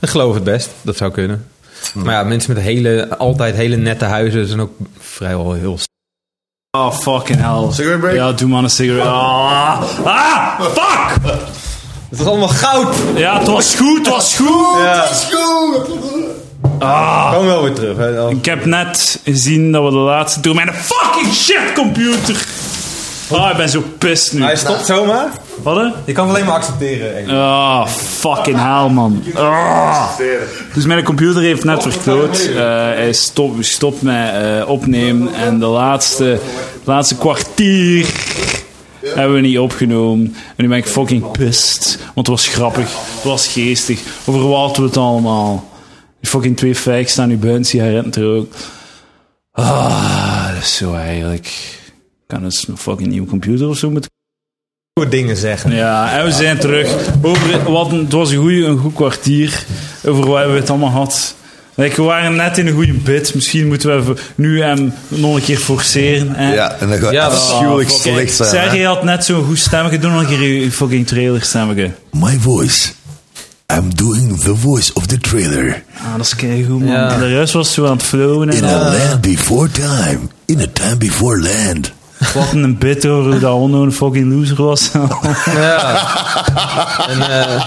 C: Ik geloof het best, dat zou kunnen.
D: Hmm.
C: Maar ja, mensen met hele, altijd hele nette huizen zijn ook vrijwel heel... s-
A: Oh, fucking hell.
D: Cigarette break? Oh.
A: Ja, doe maar een cigarette. Ah, ah, fuck!
C: Het is allemaal goud!
A: Ja, het was goed, het was goed. Ah.
C: Kom wel weer terug. Hè?
A: Ik heb net gezien dat we de laatste door mijn fucking shitcomputer. Ah, ik ben zo pissed nu.
C: Hij stopt zomaar.
A: Wat? hè?
C: Je kan het alleen maar accepteren. eigenlijk.
A: Ah, fucking hell, man. Ah. Dus mijn computer heeft net verkloot. Eh, hij stopt stopt met eh, opnemen. En de laatste, laatste kwartier hebben we niet opgenomen. En nu ben ik fucking pissed. Want het was grappig. Het was geestig. Over wat hadden we het allemaal? Die fucking twee fakes staan nu buiten sigaretten te roken. Ah, dat is zo eigenlijk. Ik Kan eens een fucking nieuwe computer of zo moeten
C: Goede dingen zeggen.
A: ja, en we zijn terug. Over, wat, het was een, goeie, een goed kwartier over wat hebben we het allemaal gehad. Like, we waren net in een goede bit. Misschien moeten we even, nu hem nog een keer forceren. Hè?
D: Ja, en dat gaat
C: Ja, dat-
D: afschuwelijk
A: Ah, fuck,
D: slecht
A: hè.
D: zijn. hè.
A: Sergej had net zo'n goed stemmetje. Doe nog een keer je je fucking trailer stemmetje.
D: My voice. I'm doing the voice of the trailer.
A: Ah, dat is keigoed, man.
C: Ja.
A: De rest was zo aan het flowen. En
D: In
A: al.
D: a
C: Ah.
D: land before time. In a time before land.
A: Wat een bit over hoe dat Onno een fucking loser was.
C: Ja. En, eh,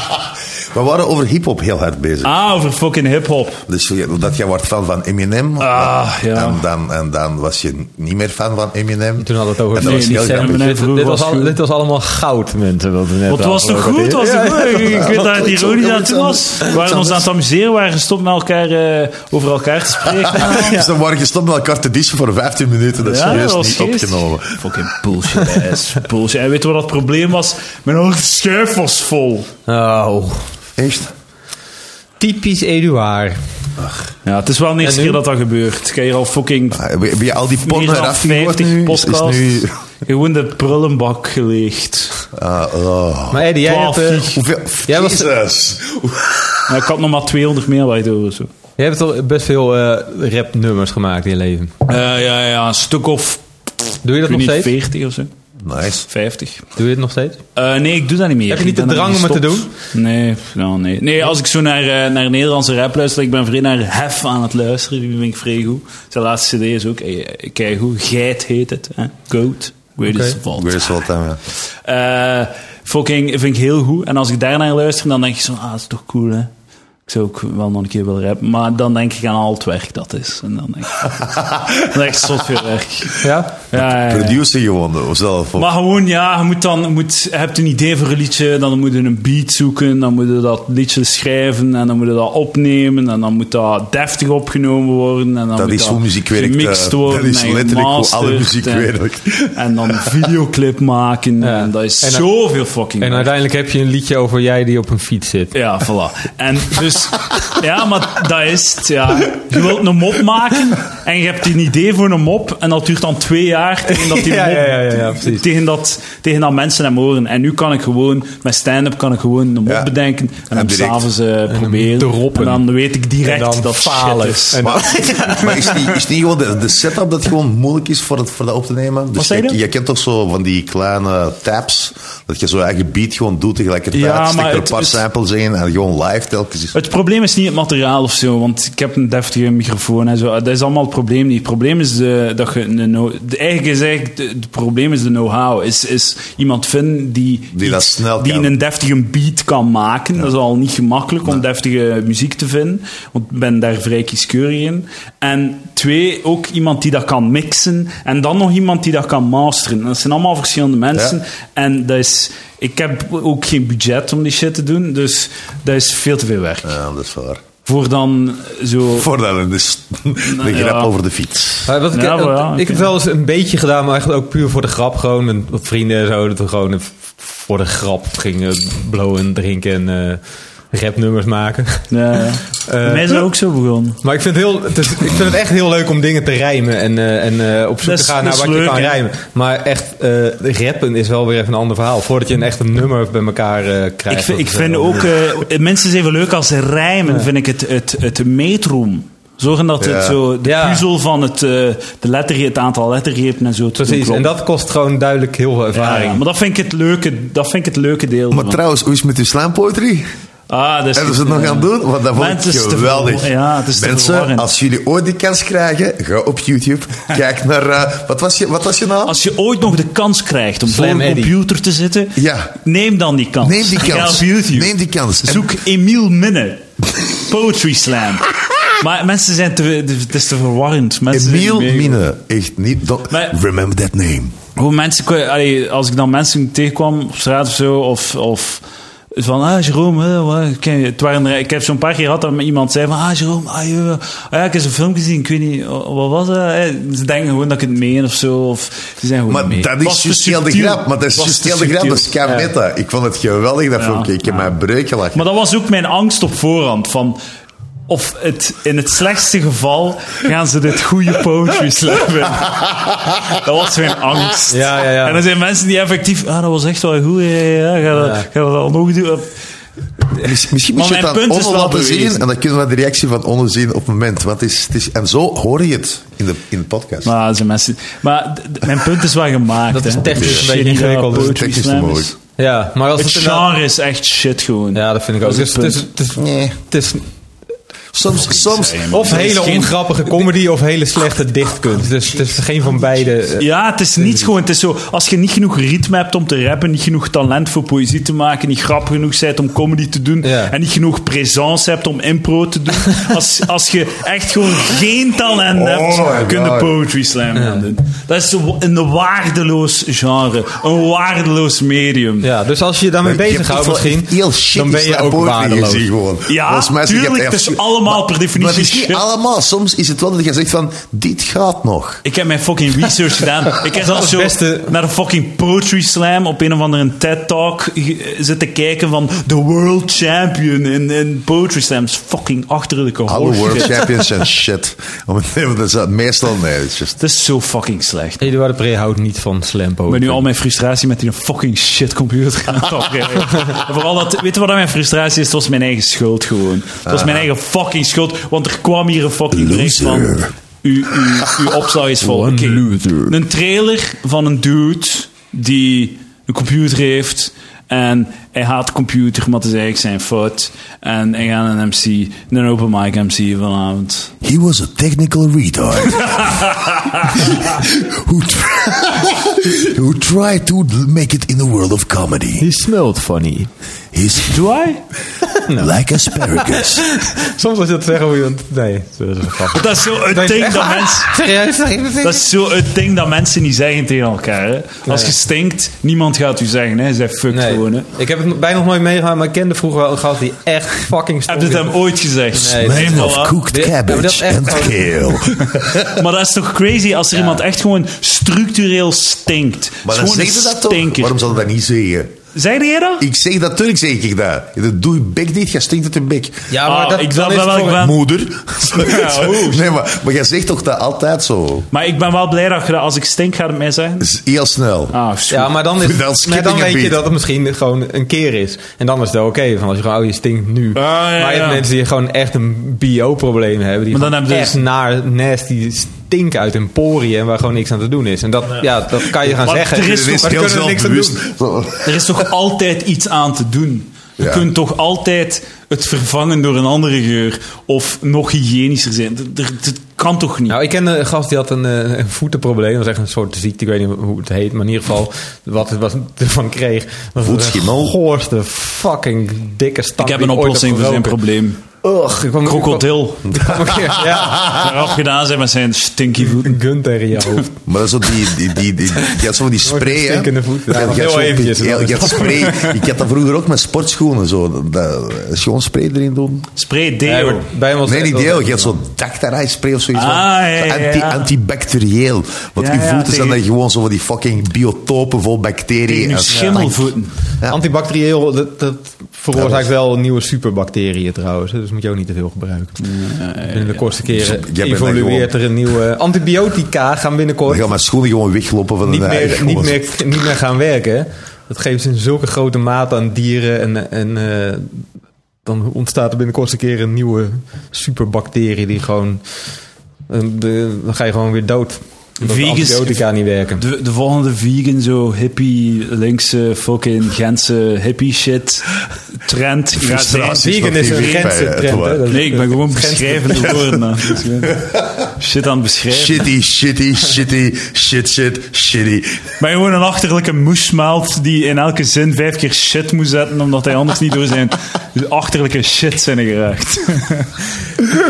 D: We waren over hip-hop heel hard bezig.
A: ah, over fucking hip-hop.
D: Dus je- dat jij wordt fan van Eminem.
A: Ah, ja.
D: en, dan, en dan was je niet meer fan van Eminem.
C: toen hadden we het
D: En
C: over...
D: dat was
A: Nee,
D: heel
A: niet
D: grappig.
A: Eminem.
C: dit, dit,
A: vroeger
C: was
A: was
C: al-
A: goed.
C: dit was allemaal goud, mensen. Wat we net
A: Want het was toch goed?
C: afgelopen
A: Het
C: hadden.
A: was
C: Ja,
A: toch goed? Ik ik weet dat het
D: iets
A: ironisch aan
D: anders.
A: het doen was. We waren ons aan het amuseren, we waren gestopt met elkaar eh, over elkaar te
C: Ah,
A: spreken.
D: Dus dan waren gestopt met elkaar te dissen voor 15 minuten. Dat is
A: Ja,
D: serieus
A: dat was
D: niet
A: geestig.
D: opgenomen.
A: Fucking bullshit ass. Bullshit. En weet je wat het probleem was? Mijn hoofd schuif was vol.
C: Oh,
D: Echt?
C: typisch Eduard.
A: Ja, het is wel de eerste
C: En nu?
A: keer dat dat gebeurt. Ik heb hier al fucking
D: Ah, Heb je, heb je al die
A: meer
D: porno
A: dan
D: eraf gehoord nu?
A: 50
D: Is, is
A: podcasts.
D: nu...
A: Gewoon de prullenbak geleegd.
D: Ah, oh.
C: Maar Eddie, jij
A: Twaalf
C: hebt... eh,
A: gig.
D: Hoeveel...
C: Jij was-
D: Jezus.
A: Maar ik had nog maar 200 megabyte over zo.
C: Je hebt toch best veel eh rapnummers gemaakt in je leven.
A: Eh, ja, ja, een stuk of
C: Doe je dat
A: ik weet
C: nog
A: niet,
C: steeds?
A: 40 of zo.
D: Nice.
A: 50.
C: Doe je dit nog steeds?
A: Eh, nee, ik doe dat niet meer.
C: Heb je niet
A: Ik ben
C: de
A: daarmee
C: drang om het te
A: gestopt. Nee, nou, nee. Nee, als ik zo naar, eh, naar Nederlandse rap luister, ik ben vrij naar Hef aan het luisteren. Die vind ik vrij goed. Zijn laatste cd is ook eh, keigoed. Geit heet het. Hè? Goat. Greatest
C: Oké.
A: of all
D: Greatest of all time, ja.
A: Eh, fucking vind ik heel goed. En als ik daarnaar luister, dan denk ik zo, ah, dat is toch cool, hè. Ik zou ook wel nog een keer willen rappen. Maar dan denk ik aan al het werk dat is. En dan denk ik, dat is echt zot veel werk.
C: Ja?
A: Ja, ja, ja.
D: Producer gewoon, of zelf. Of,
A: Eh. Maar gewoon, ja, je moet dan, je moet, je hebt een idee voor een liedje, dan moet je een beat zoeken, dan moet je dat liedje schrijven, en dan moet je dat opnemen, en dan moet dat deftig opgenomen worden, en dan
D: Dat
A: moet
D: is hoe muziek werkt,
A: gemixt
D: eh,
A: worden,
D: dat is
A: en
D: letterlijk hoe alle
A: gemasterd,
D: muziek
A: en,
D: werkt.
A: En dan een videoclip maken,
C: Ja.
A: en dat is
C: En dan-
A: zoveel fucking
C: En
A: werk.
C: uiteindelijk heb je een liedje over jij die op een fiets zit.
A: Ja, voilà. En dus, ja, maar dat is het. Ja. Je wilt een mop maken en je hebt een idee voor een mop. En dat duurt dan twee jaar tegen dat, die
C: Ja,
A: mop,
C: ja, ja, ja, ja, precies.
A: tegen dat, tegen dat mensen hem horen. En nu kan ik gewoon, met stand-up kan ik gewoon een mop
D: Ja.
A: bedenken. En
D: En
A: hem
D: direct.
A: s'avonds eh proberen.
C: droppen.
A: En dan weet ik direct
C: En dan
A: dat
C: falen.
A: shit is.
C: En-
D: Maar, maar is, niet, is niet gewoon de, de setup dat gewoon moeilijk is voor, het, voor dat op te nemen? Dus
A: zei
D: je,
A: je?
D: je kent toch zo van die kleine tabs, dat je zo eigen beat gewoon doet tegelijkertijd.
A: Ja, maar
D: Stik er een
A: het-
D: paar
A: het-
D: samples in en gewoon live telkens. is-
A: Het probleem is niet het materiaal of zo, want ik heb een deftige microfoon en zo. Eh, Dat is allemaal het probleem niet. Het probleem is de, dat je een no- de, eigenlijk is eigenlijk de- het probleem is de know-how. Is, is iemand vinden die,
D: Die dat snel
A: die
D: kan.
A: een deftige beat kan maken. Dat is al niet gemakkelijk om deftige muziek te vinden, want ik ben daar vrij kieskeurig in. En twee, ook iemand die dat kan mixen en dan nog iemand die dat kan masteren. Dat zijn allemaal verschillende mensen
D: Ja.
A: en dat is. Ik heb ook geen budget om die shit te doen, dus dat is veel te veel werk.
D: Ja, dat is waar.
A: Voor dan zo.
D: Voordat er dus de
A: ja.
D: grap over de fiets.
C: Maar wat ik,
A: Ja,
C: eh,
A: wel, ja,
C: ik heb
A: oké.
C: het wel eens een beetje gedaan, maar eigenlijk ook puur voor de grap. Gewoon een, wat vrienden en zo, dat we gewoon een- voor de grap gingen blowen, drinken en eh, rapnummers maken.
A: Ja, ja. Bij mij is dat ook zo begonnen.
C: Maar ik vind, het heel, het is- ik vind het echt heel leuk om dingen te rijmen en, eh, en eh, op zoek
A: Dat is-
C: te gaan
A: dat
C: naar
A: is
C: wat
A: leuk,
C: je kan
A: hè?
C: rijmen. Maar echt, eh, rappen is wel weer even een ander verhaal. Voordat je een echt een nummer bij elkaar eh, krijgt.
A: Ik vind,
C: dat
A: ik
C: is
A: vind
C: wel-
A: ook. eh, mensen zijn wel leuk als ze rijmen, vind ik het, het, het metroom. Zorgen dat het
D: Ja.
A: zo. De
C: Ja.
A: puzzel van het, eh, de lettergreep, het aantal lettergrepen en zo. te doen
C: Precies, en
A: klopt.
C: dat kost gewoon duidelijk heel veel
A: Ja,
C: ervaring.
A: ja, maar dat vind ik het leuke, dat vind ik het leuke deel.
D: Maar
A: ervan.
D: trouwens, hoe is het met uw slam poetry?
A: ah, dat is
D: Hebben ze het nog aan het doen? Want dat
A: Maar
D: vond
A: het is
D: ik
A: te
D: geweldig.
A: verwar- ja, het is te
D: Mensen,
A: verwarrend.
D: als jullie ooit die kans krijgen, ga op YouTube. Kijk naar... eh, wat, was je, wat was je naam?
A: Als je ooit nog de kans krijgt om
C: Slam
A: voor een
C: Eddy.
A: computer te zitten,
D: Ja.
A: neem dan die kans.
D: Neem die
A: Ga
D: kans.
A: op YouTube.
D: Neem die kans. En-
A: Zoek Emiel Minne. Poetry Slam. Maar mensen zijn te... Het is te verwarrend. Mensen zijn
D: Emiel
A: niet mee.
D: Mine. Echt niet... don't-
A: Maar-
D: remember that name.
A: Hoe mensen, ko- allee, als ik dan mensen tegenkwam op straat of zo, of, of van, ah, Jeroen, hè, wat, ken je- het waren er- ik heb zo'n paar keer gehad dat me iemand zei van, ah, Jeroen, ah, joh, ah ja, ik heb zo'n film gezien, ik weet niet, oh, wat was dat? hè? Ze denken gewoon dat ik het meen of zo, of ze zijn gewoon
D: Maar
A: mee.
D: dat
A: Het was
D: is
A: te
D: juist heel de
A: subtiel.
D: grap. Maar dat is
A: Het was
D: juist
A: te
D: heel de grap.
A: subtiel.
D: Dat is Cametta. Ik vond het geweldig, dat
A: Ja,
D: filmpje. Ik heb
A: ja.
D: mij breuk gelachen.
A: Maar dat was ook mijn angst op voorhand. Van, of het, in het slechtste geval gaan ze dit goede poetry slappen. dat was mijn angst.
C: Ja, ja, ja.
A: En er zijn mensen die effectief... Ah, dat was echt wel goed. Ja, ja, ja. Ga, dat, ga dat al nog doen.
D: Miss- Misschien moet je
A: Maar
D: het
A: mijn
D: dan
A: punt is
D: onder
A: wel
D: laten
A: bewezen.
D: zien. En dan kunnen we de reactie van onder zien op het moment. Want het is, het is, en zo hoor je het in de, in de podcast.
A: Maar, dat zijn mensen, maar d- d- mijn punt is wel gemaakt.
C: Dat is
A: hè.
C: technisch
A: Het
C: een beetje
A: shit dat
C: ingewikkeld, dus
D: dat is
A: poetry
D: technisch
A: slam
D: te
A: is.
D: moeilijk.
C: Ja, maar als
A: Het
C: het inderdaad-
A: genre is echt shit gewoon.
C: Ja, dat vind ik ook.
A: Dat
C: Dus
A: is
C: het
A: het
C: is, het is,
D: Nee.
C: het is
D: Soms, soms,
C: of
A: Er is
C: hele
A: geen-
C: ongrappige comedy of hele slechte dichtkunst. Dus het is geen van beide. eh,
A: Ja, het is niet gewoon. Het is zo, als je niet genoeg ritme hebt om te rappen, niet genoeg talent voor poëzie te maken, niet grappig genoeg bent om comedy te doen,
C: Ja.
A: en niet genoeg presence hebt om impro te doen. als, als je echt gewoon geen talent
D: Oh my
A: hebt, kunnen
D: God.
A: poetry slam gaan doen. Dat is zo een waardeloos genre, een waardeloos medium.
C: Ja, dus als je je daarmee
D: Ik heb echt
C: bezighoudt
D: wel
C: misschien,
D: echt Heel shit
C: dan ben je ook waardeloos.
D: Gezien, gewoon.
A: Ja,
D: Volgens mij zeg je
A: tuurlijk,
D: echt
A: het is
D: shit.
A: allemaal per definitie
D: Maar het is niet
A: shit.
D: allemaal. Soms is het wel dat je zegt van, dit gaat nog.
A: Ik heb mijn fucking research gedaan. Ik heb
C: Dat
A: zelfs
C: is
A: zo
C: het beste.
A: naar een fucking poetry slam op een of andere TED Talk ge- zitten kijken van de world champion in, in poetry slams. Fucking achterlijke
D: Alle
A: horse
D: world
A: Oh, shit.
D: champions en shit. Om het even te zeggen, meestal nee. het is just-
A: Het is zo fucking slecht.
C: Eduard Pre houdt niet van slampo.
A: Ik ben nu al mijn frustratie met die fucking shit computer gaan afkrijgen. En Vooral dat, weet je wat mijn frustratie is? Het was mijn eigen schuld gewoon. Het was mijn eigen fucking schuld, want er kwam hier een fucking bericht van...
D: Loser.
A: Uw, uw, uw opslag is vol. Oké.
C: One loser.
A: Een trailer van een dude die een computer heeft. En hij haat computer, maar het is eigenlijk zijn fout. En hij gaat een MC, een open mic MC vanavond.
D: He was a technical retard who, tr- who tried to make it in the world of comedy.
E: He smelled funny.
D: He's
A: Do I?
D: like asparagus.
C: Soms als je dat zegt, moet je dat... Nee, dat is een grap.
A: Dat is zo het
C: Dat is
A: ding
C: echt
A: dat
C: waar.
A: mensen...
C: Serieus? Nee,
A: Dat is zo het ding dat mensen niet zeggen tegen elkaar. Hè? Als je stinkt, niemand gaat u zeggen. Hè? Zij fuck gewoon. Hè?
C: ik heb het bijna nog nooit meegemaakt, maar ik kende vroeger wel een gast die echt fucking stonk.
A: Heb je het hem ooit gezegd?
C: Nee,
A: Nee,
D: Man of
A: voilà.
D: cooked
C: Ja, maar dat is
D: cabbage
C: echt
D: and
C: gewoon-
D: kale.
A: Maar dat is toch crazy als er iemand echt gewoon structureel stinkt. Het
D: Maar dan
A: is gewoon
D: zeg
A: een
D: je dat toch?
A: stinker.
D: Waarom zou je dat niet zeggen?
A: Zeide jij dat?
D: Ik zeg dat, tuurlijk zeg ik dat. Dat doe je bek niet, je stinkt uit je bek.
C: Ja, maar
A: Ah,
C: dat,
A: ik
C: dan
A: dacht
C: is het
A: wel
C: voor-
A: ik ben-
D: Moeder.
A: Ja, oeh.
D: nee, maar, maar jij zegt toch dat altijd zo?
A: Maar ik ben wel blij dat je dat als ik stink gaat het mij zeggen.
D: Dat is heel snel.
A: Ah, is goed.
C: Ja, maar dan, is,
D: Dan
C: maar
D: skip ik
C: dan
D: een
C: weet je
D: beat.
C: dat het misschien gewoon een keer is. En dan is het wel oké. van als je gewoon, oh, je stinkt nu.
A: Ah, ja,
C: maar je hebt
A: ja.
C: mensen die gewoon echt een bio-probleem hebben. Die
A: Maar dan hebben
C: gewoon echt
A: ze dus-
C: naar nasty stinken uit hun poriën... waar gewoon niks aan te doen is. En dat, ja. dat kan je gaan
A: Maar
C: zeggen.
A: er is
D: Iedereen
A: toch-
C: maar daar
D: heel
C: kunnen we
D: snel
C: niks aan
D: bewust.
C: doen.
A: Er is toch altijd iets aan te doen. Je
D: Ja.
A: kunt toch altijd het vervangen door een andere geur. Of nog hygiënischer zijn. Dat- dat- Dat kan toch niet?
C: Nou, ik ken een gast die had een, eh, een voetenprobleem. Dat was echt een soort ziekte, ik weet niet hoe het heet. Maar in ieder geval, wat het was ervan kreeg... was de
D: Voetschimmel.
C: goorste fucking dikke stank
A: ik heb
C: die
A: een
C: ooit
A: oplossing voor zijn
C: geroken.
A: probleem.
C: Ugh, ik kwam- ik kwam-
A: Krokodil.
C: ik kwam een keer- Ja.
A: Eraf gedaan zijn met zijn stinky voet.
C: een gun tegen je hoofd.
D: Maar dat is zo die, die, die, die, je had zo die spray, hè?
C: stinkende voet.
D: Je had- je had
C: Heel
D: zo'n-
C: eventjes.
D: je had- je had spray. Ik had dat vroeger ook met sportschoenen, zo. Dat, schoon spray erin doen.
A: Spray deo.
C: bij ons
D: Nee, niet deel. Je had zo'n dactarai spray of zoiets.
A: Ah, ja, ja, ja.
D: Anti, antibacterieel. Want
A: Ja,
D: je
A: ja,
D: voeten zijn
A: tegen-
D: dan gewoon zo van die fucking biotopen vol bacteriën.
A: nu
D: en stank.
A: schimmelvoeten.
D: Ja.
C: Antibacterieel, dat, dat veroorzaakt
D: Ja, dat is-
C: wel nieuwe superbacteriën trouwens. hè, Dus moet je ook niet te veel gebruiken. Binnen de kortste keren
D: Dus jij bent
C: evolueert
D: dan
C: er een nieuwe... Antibiotica gaan
D: Dan
C: binnenkort
D: gaan mijn schoenen gewoon weglopen van
C: niet
D: de
C: meer, niet, meer, niet meer gaan werken. Dat geeft ze in zulke grote mate aan dieren. En, en eh, dan ontstaat er binnenkort een keer een nieuwe superbacterie die gewoon... eh, de- dan ga je gewoon weer dood. Omdat de
A: Vegans-
C: antibiotica niet werken.
A: De, de volgende vegan, zo hippie, linkse, fucking Gentse hippie shit trend. gaat zijn-
D: Frustratie.
C: Vegan is een
D: Is nog geen
C: Gentse
D: feit,
C: trend. hè?
D: hè,
C: Dat is-
A: Nee, ik ben gewoon
C: dat is Gentse-
A: beschrijvende woorden. aan het doen. Shit aan het beschrijven.
D: Shitty, shitty, shitty, shit, shit, shitty.
A: Ik ben gewoon een achterlijke moesmeld die in elke zin vijf keer shit moet zetten, omdat hij anders niet door zijn achterlijke shit zijn geraakt.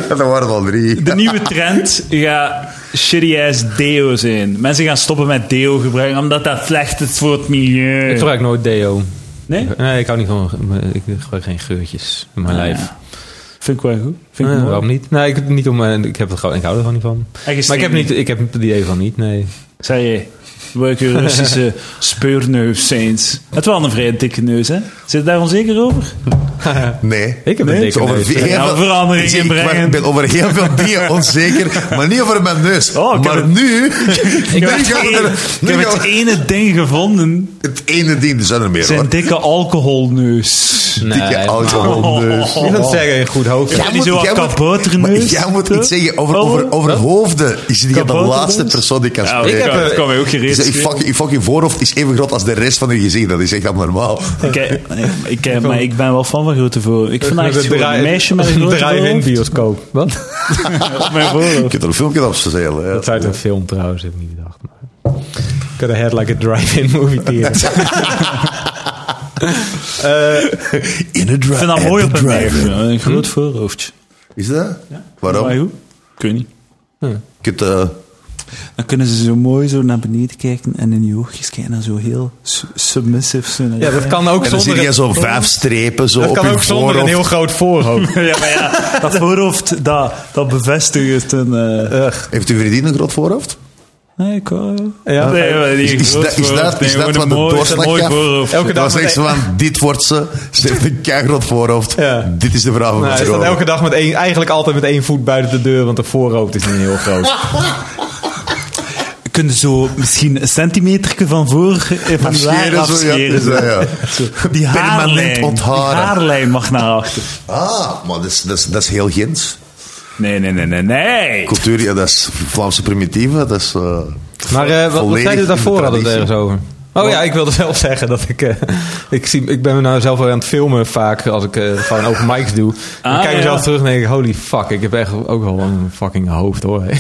D: Dat waren al drie.
A: De nieuwe trend gaat shitty ass deo zijn. Mensen gaan stoppen met deo gebruiken, omdat dat slecht is voor het
C: Ik
A: milieu.
C: gebruik nooit deo.
A: Nee?
C: Nee, ik hou niet van... Ik gebruik geen geurtjes in mijn
A: Ah,
C: lijf.
A: ja. Vind ik wel goed. Vind ik
C: Nee,
A: mooi.
C: waarom niet? Nee, ik, niet om, eh, ik, heb het gewoon, ik hou er gewoon niet van. Maar ik heb, niet, ik heb het idee van niet, nee.
A: Zei je, welke Russische speurneus zijn ze? Het wel een vrij dikke neus, hè? Zit je daar onzeker over?
D: Nee.
C: Ik heb een dikke
D: over
C: neus.
D: heel
A: Ja,
D: veel-
A: verandering
D: Ik zeg, ik
A: inbrengen.
D: ben over heel veel dingen onzeker, maar niet over mijn neus.
A: Oh, ik heb
D: maar
A: het-
D: nu, nu
A: Ik heb, het,
D: gaan we
A: ene-
D: er-
A: ik
D: nu
A: heb
D: gaan
A: het
D: we-
A: ene ding gevonden.
D: het ene ding, er zijn er meer
A: Zijn
D: hoor.
A: dikke alcoholneus.
C: Nee,
D: Dikke alcoholneus.
C: Ik wil zeggen, een goed hoofd.
A: Ja.
D: Oh, Jij
A: die
D: moet-
A: zo wat
D: jij moet-
A: kabouterneus,
D: maar Jij moet
A: hè?
D: iets zeggen over,
A: Oh,
D: over, over
A: wat?
D: hoofden. Is die de
A: Kabouterneus?
D: laatste persoon die kan
A: Ja,
D: spreken?
A: ik
C: heb,
A: heb, dat
C: eh,
A: kan mij ook
D: Je
A: gereed.
D: zegt, Je fucking, je fucking voorhoofd is even groot als de rest van je gezicht. Dat is echt abnormaal.
A: Ik, eh, ik, eh, maar ik ben wel fan van grote voorhoofd. Ik vind eigenlijk gewoon een meisje met een grote
C: drive-in
A: voorhoofd.
C: bioscoop. Wat?
A: Op mijn voorhoofd.
D: Ik heb er een filmpje op gezelen.
C: Dat is uit een film trouwens, heb ik niet bedacht. Maar... Could have had like a drive-in movie theater.
D: In a
A: Ik
D: drive.
A: vind dat mooi op een meisje.
D: drive.
A: Een groot voorhoofdje.
D: Is dat? Waarom?
A: Maar
D: Je
A: hoe? Ik weet niet.
D: kunt, eh,
A: Dan kunnen ze zo mooi zo naar beneden kijken en in je oogjes kijken en zo heel su- submissive zo naar je-
C: ja, dat kan ook
D: en dan zie
C: zonder...
D: je
C: een-
D: zo'n vijf strepen zo
C: dat
D: op
C: kan
D: je
C: ook zonder een
D: voorhoofd.
C: heel groot voorhoofd.
A: Ja, maar ja, dat voorhoofd, dat, dat bevestigt een... eh,
D: Heeft u vriendin een groot voorhoofd?
A: Nee, ik wel.
C: Ja.
A: nee, maar die
D: Is- is
A: groot
D: dat- is
A: voorhoofd,
D: dat- is
A: nee, gewoon
D: dat wat de
A: een mooi-
D: doorslag
A: mooi
D: gaf?
A: voorhoofd.
C: Elke
D: Het
C: dag
D: was
C: met
D: echt zo van, dit wordt ze. Ze heeft een keigroot voorhoofd.
C: Ja.
D: Dit is de vrouw van
C: Nou,
D: mijn
C: hij staat
D: dromen.
C: elke dag met één, eigenlijk altijd met één voet buiten de deur, want de voorhoofd is niet heel groot.
A: Kunnen zo misschien een centimeter van voor eh, van die haar
D: Afscheren, zo, ja.
A: afscheren. zo.
D: Ja, ja.
A: Zo, Die
D: Permanent
A: haarlijn, die
D: ontharen.
A: haarlijn mag naar achter.
D: Ah, maar dat is, dat is, dat is heel Gens.
A: Nee, nee, nee, nee, nee.
D: Cultuur, ja, dat is Vlaamse primitieve. Dat is... eh,
C: Maar eh, wat, wat
D: volledig
C: zeiden we
D: in de
C: daarvoor? Hadden we het
D: traditie.
C: ergens over? Oh ja, ik wilde zelf zeggen dat ik... eh, ik, zie, ik ben me nou zelf wel aan het filmen vaak als ik eh, gewoon open mics doe. Dan
A: Ah,
C: kijk ik mezelf
A: ja.
C: terug en denk ik, holy fuck, ik heb echt ook wel een fucking hoofd hoor.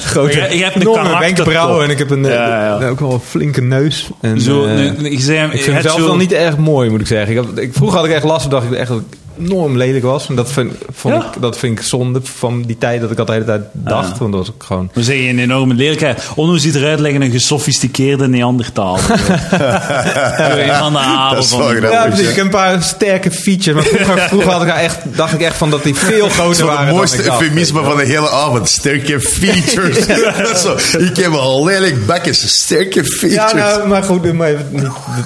C: Grote,
A: Je- je hebt een
C: enorme
A: karakterkop.
C: wenkbrauwen en ik heb een, eh,
A: Ja, ja.
C: ook wel een flinke neus. En,
A: Zo,
C: eh,
A: nu- nu- ik zei-
C: ik vind
A: het
C: het zelf
A: zo-
C: wel niet erg mooi, moet ik zeggen. Ik had, ik, vroeger had ik echt last, dacht ik echt dat ik enorm lelijk was. En dat vind, vond
A: Ja. Ah.
C: ik, dat vind ik zonde van die tijd dat ik dat de hele tijd dacht. Want dat was ook gewoon...
A: We zeggen een enorme lelijkheid. Onno ziet eruit leggen een gesofisticeerde Neandertaler. Een van de apen
D: Dat is
A: van
D: wel
A: de-
D: grappig. Ja,
C: Ja, precies.
D: precies.
C: Ik heb een paar sterke features. Maar vroeger, vroeger had ik daar echt, dacht ik echt van dat die veel
D: Dat is
C: groter
D: wel
C: waren.
D: het mooiste
C: dan ik dacht.
D: eufemisme van de hele avond. Sterke features. dat is zo. Ik heb al lelijk bekjes. Sterke features.
C: Ja, nou, maar goed, doe maar even niet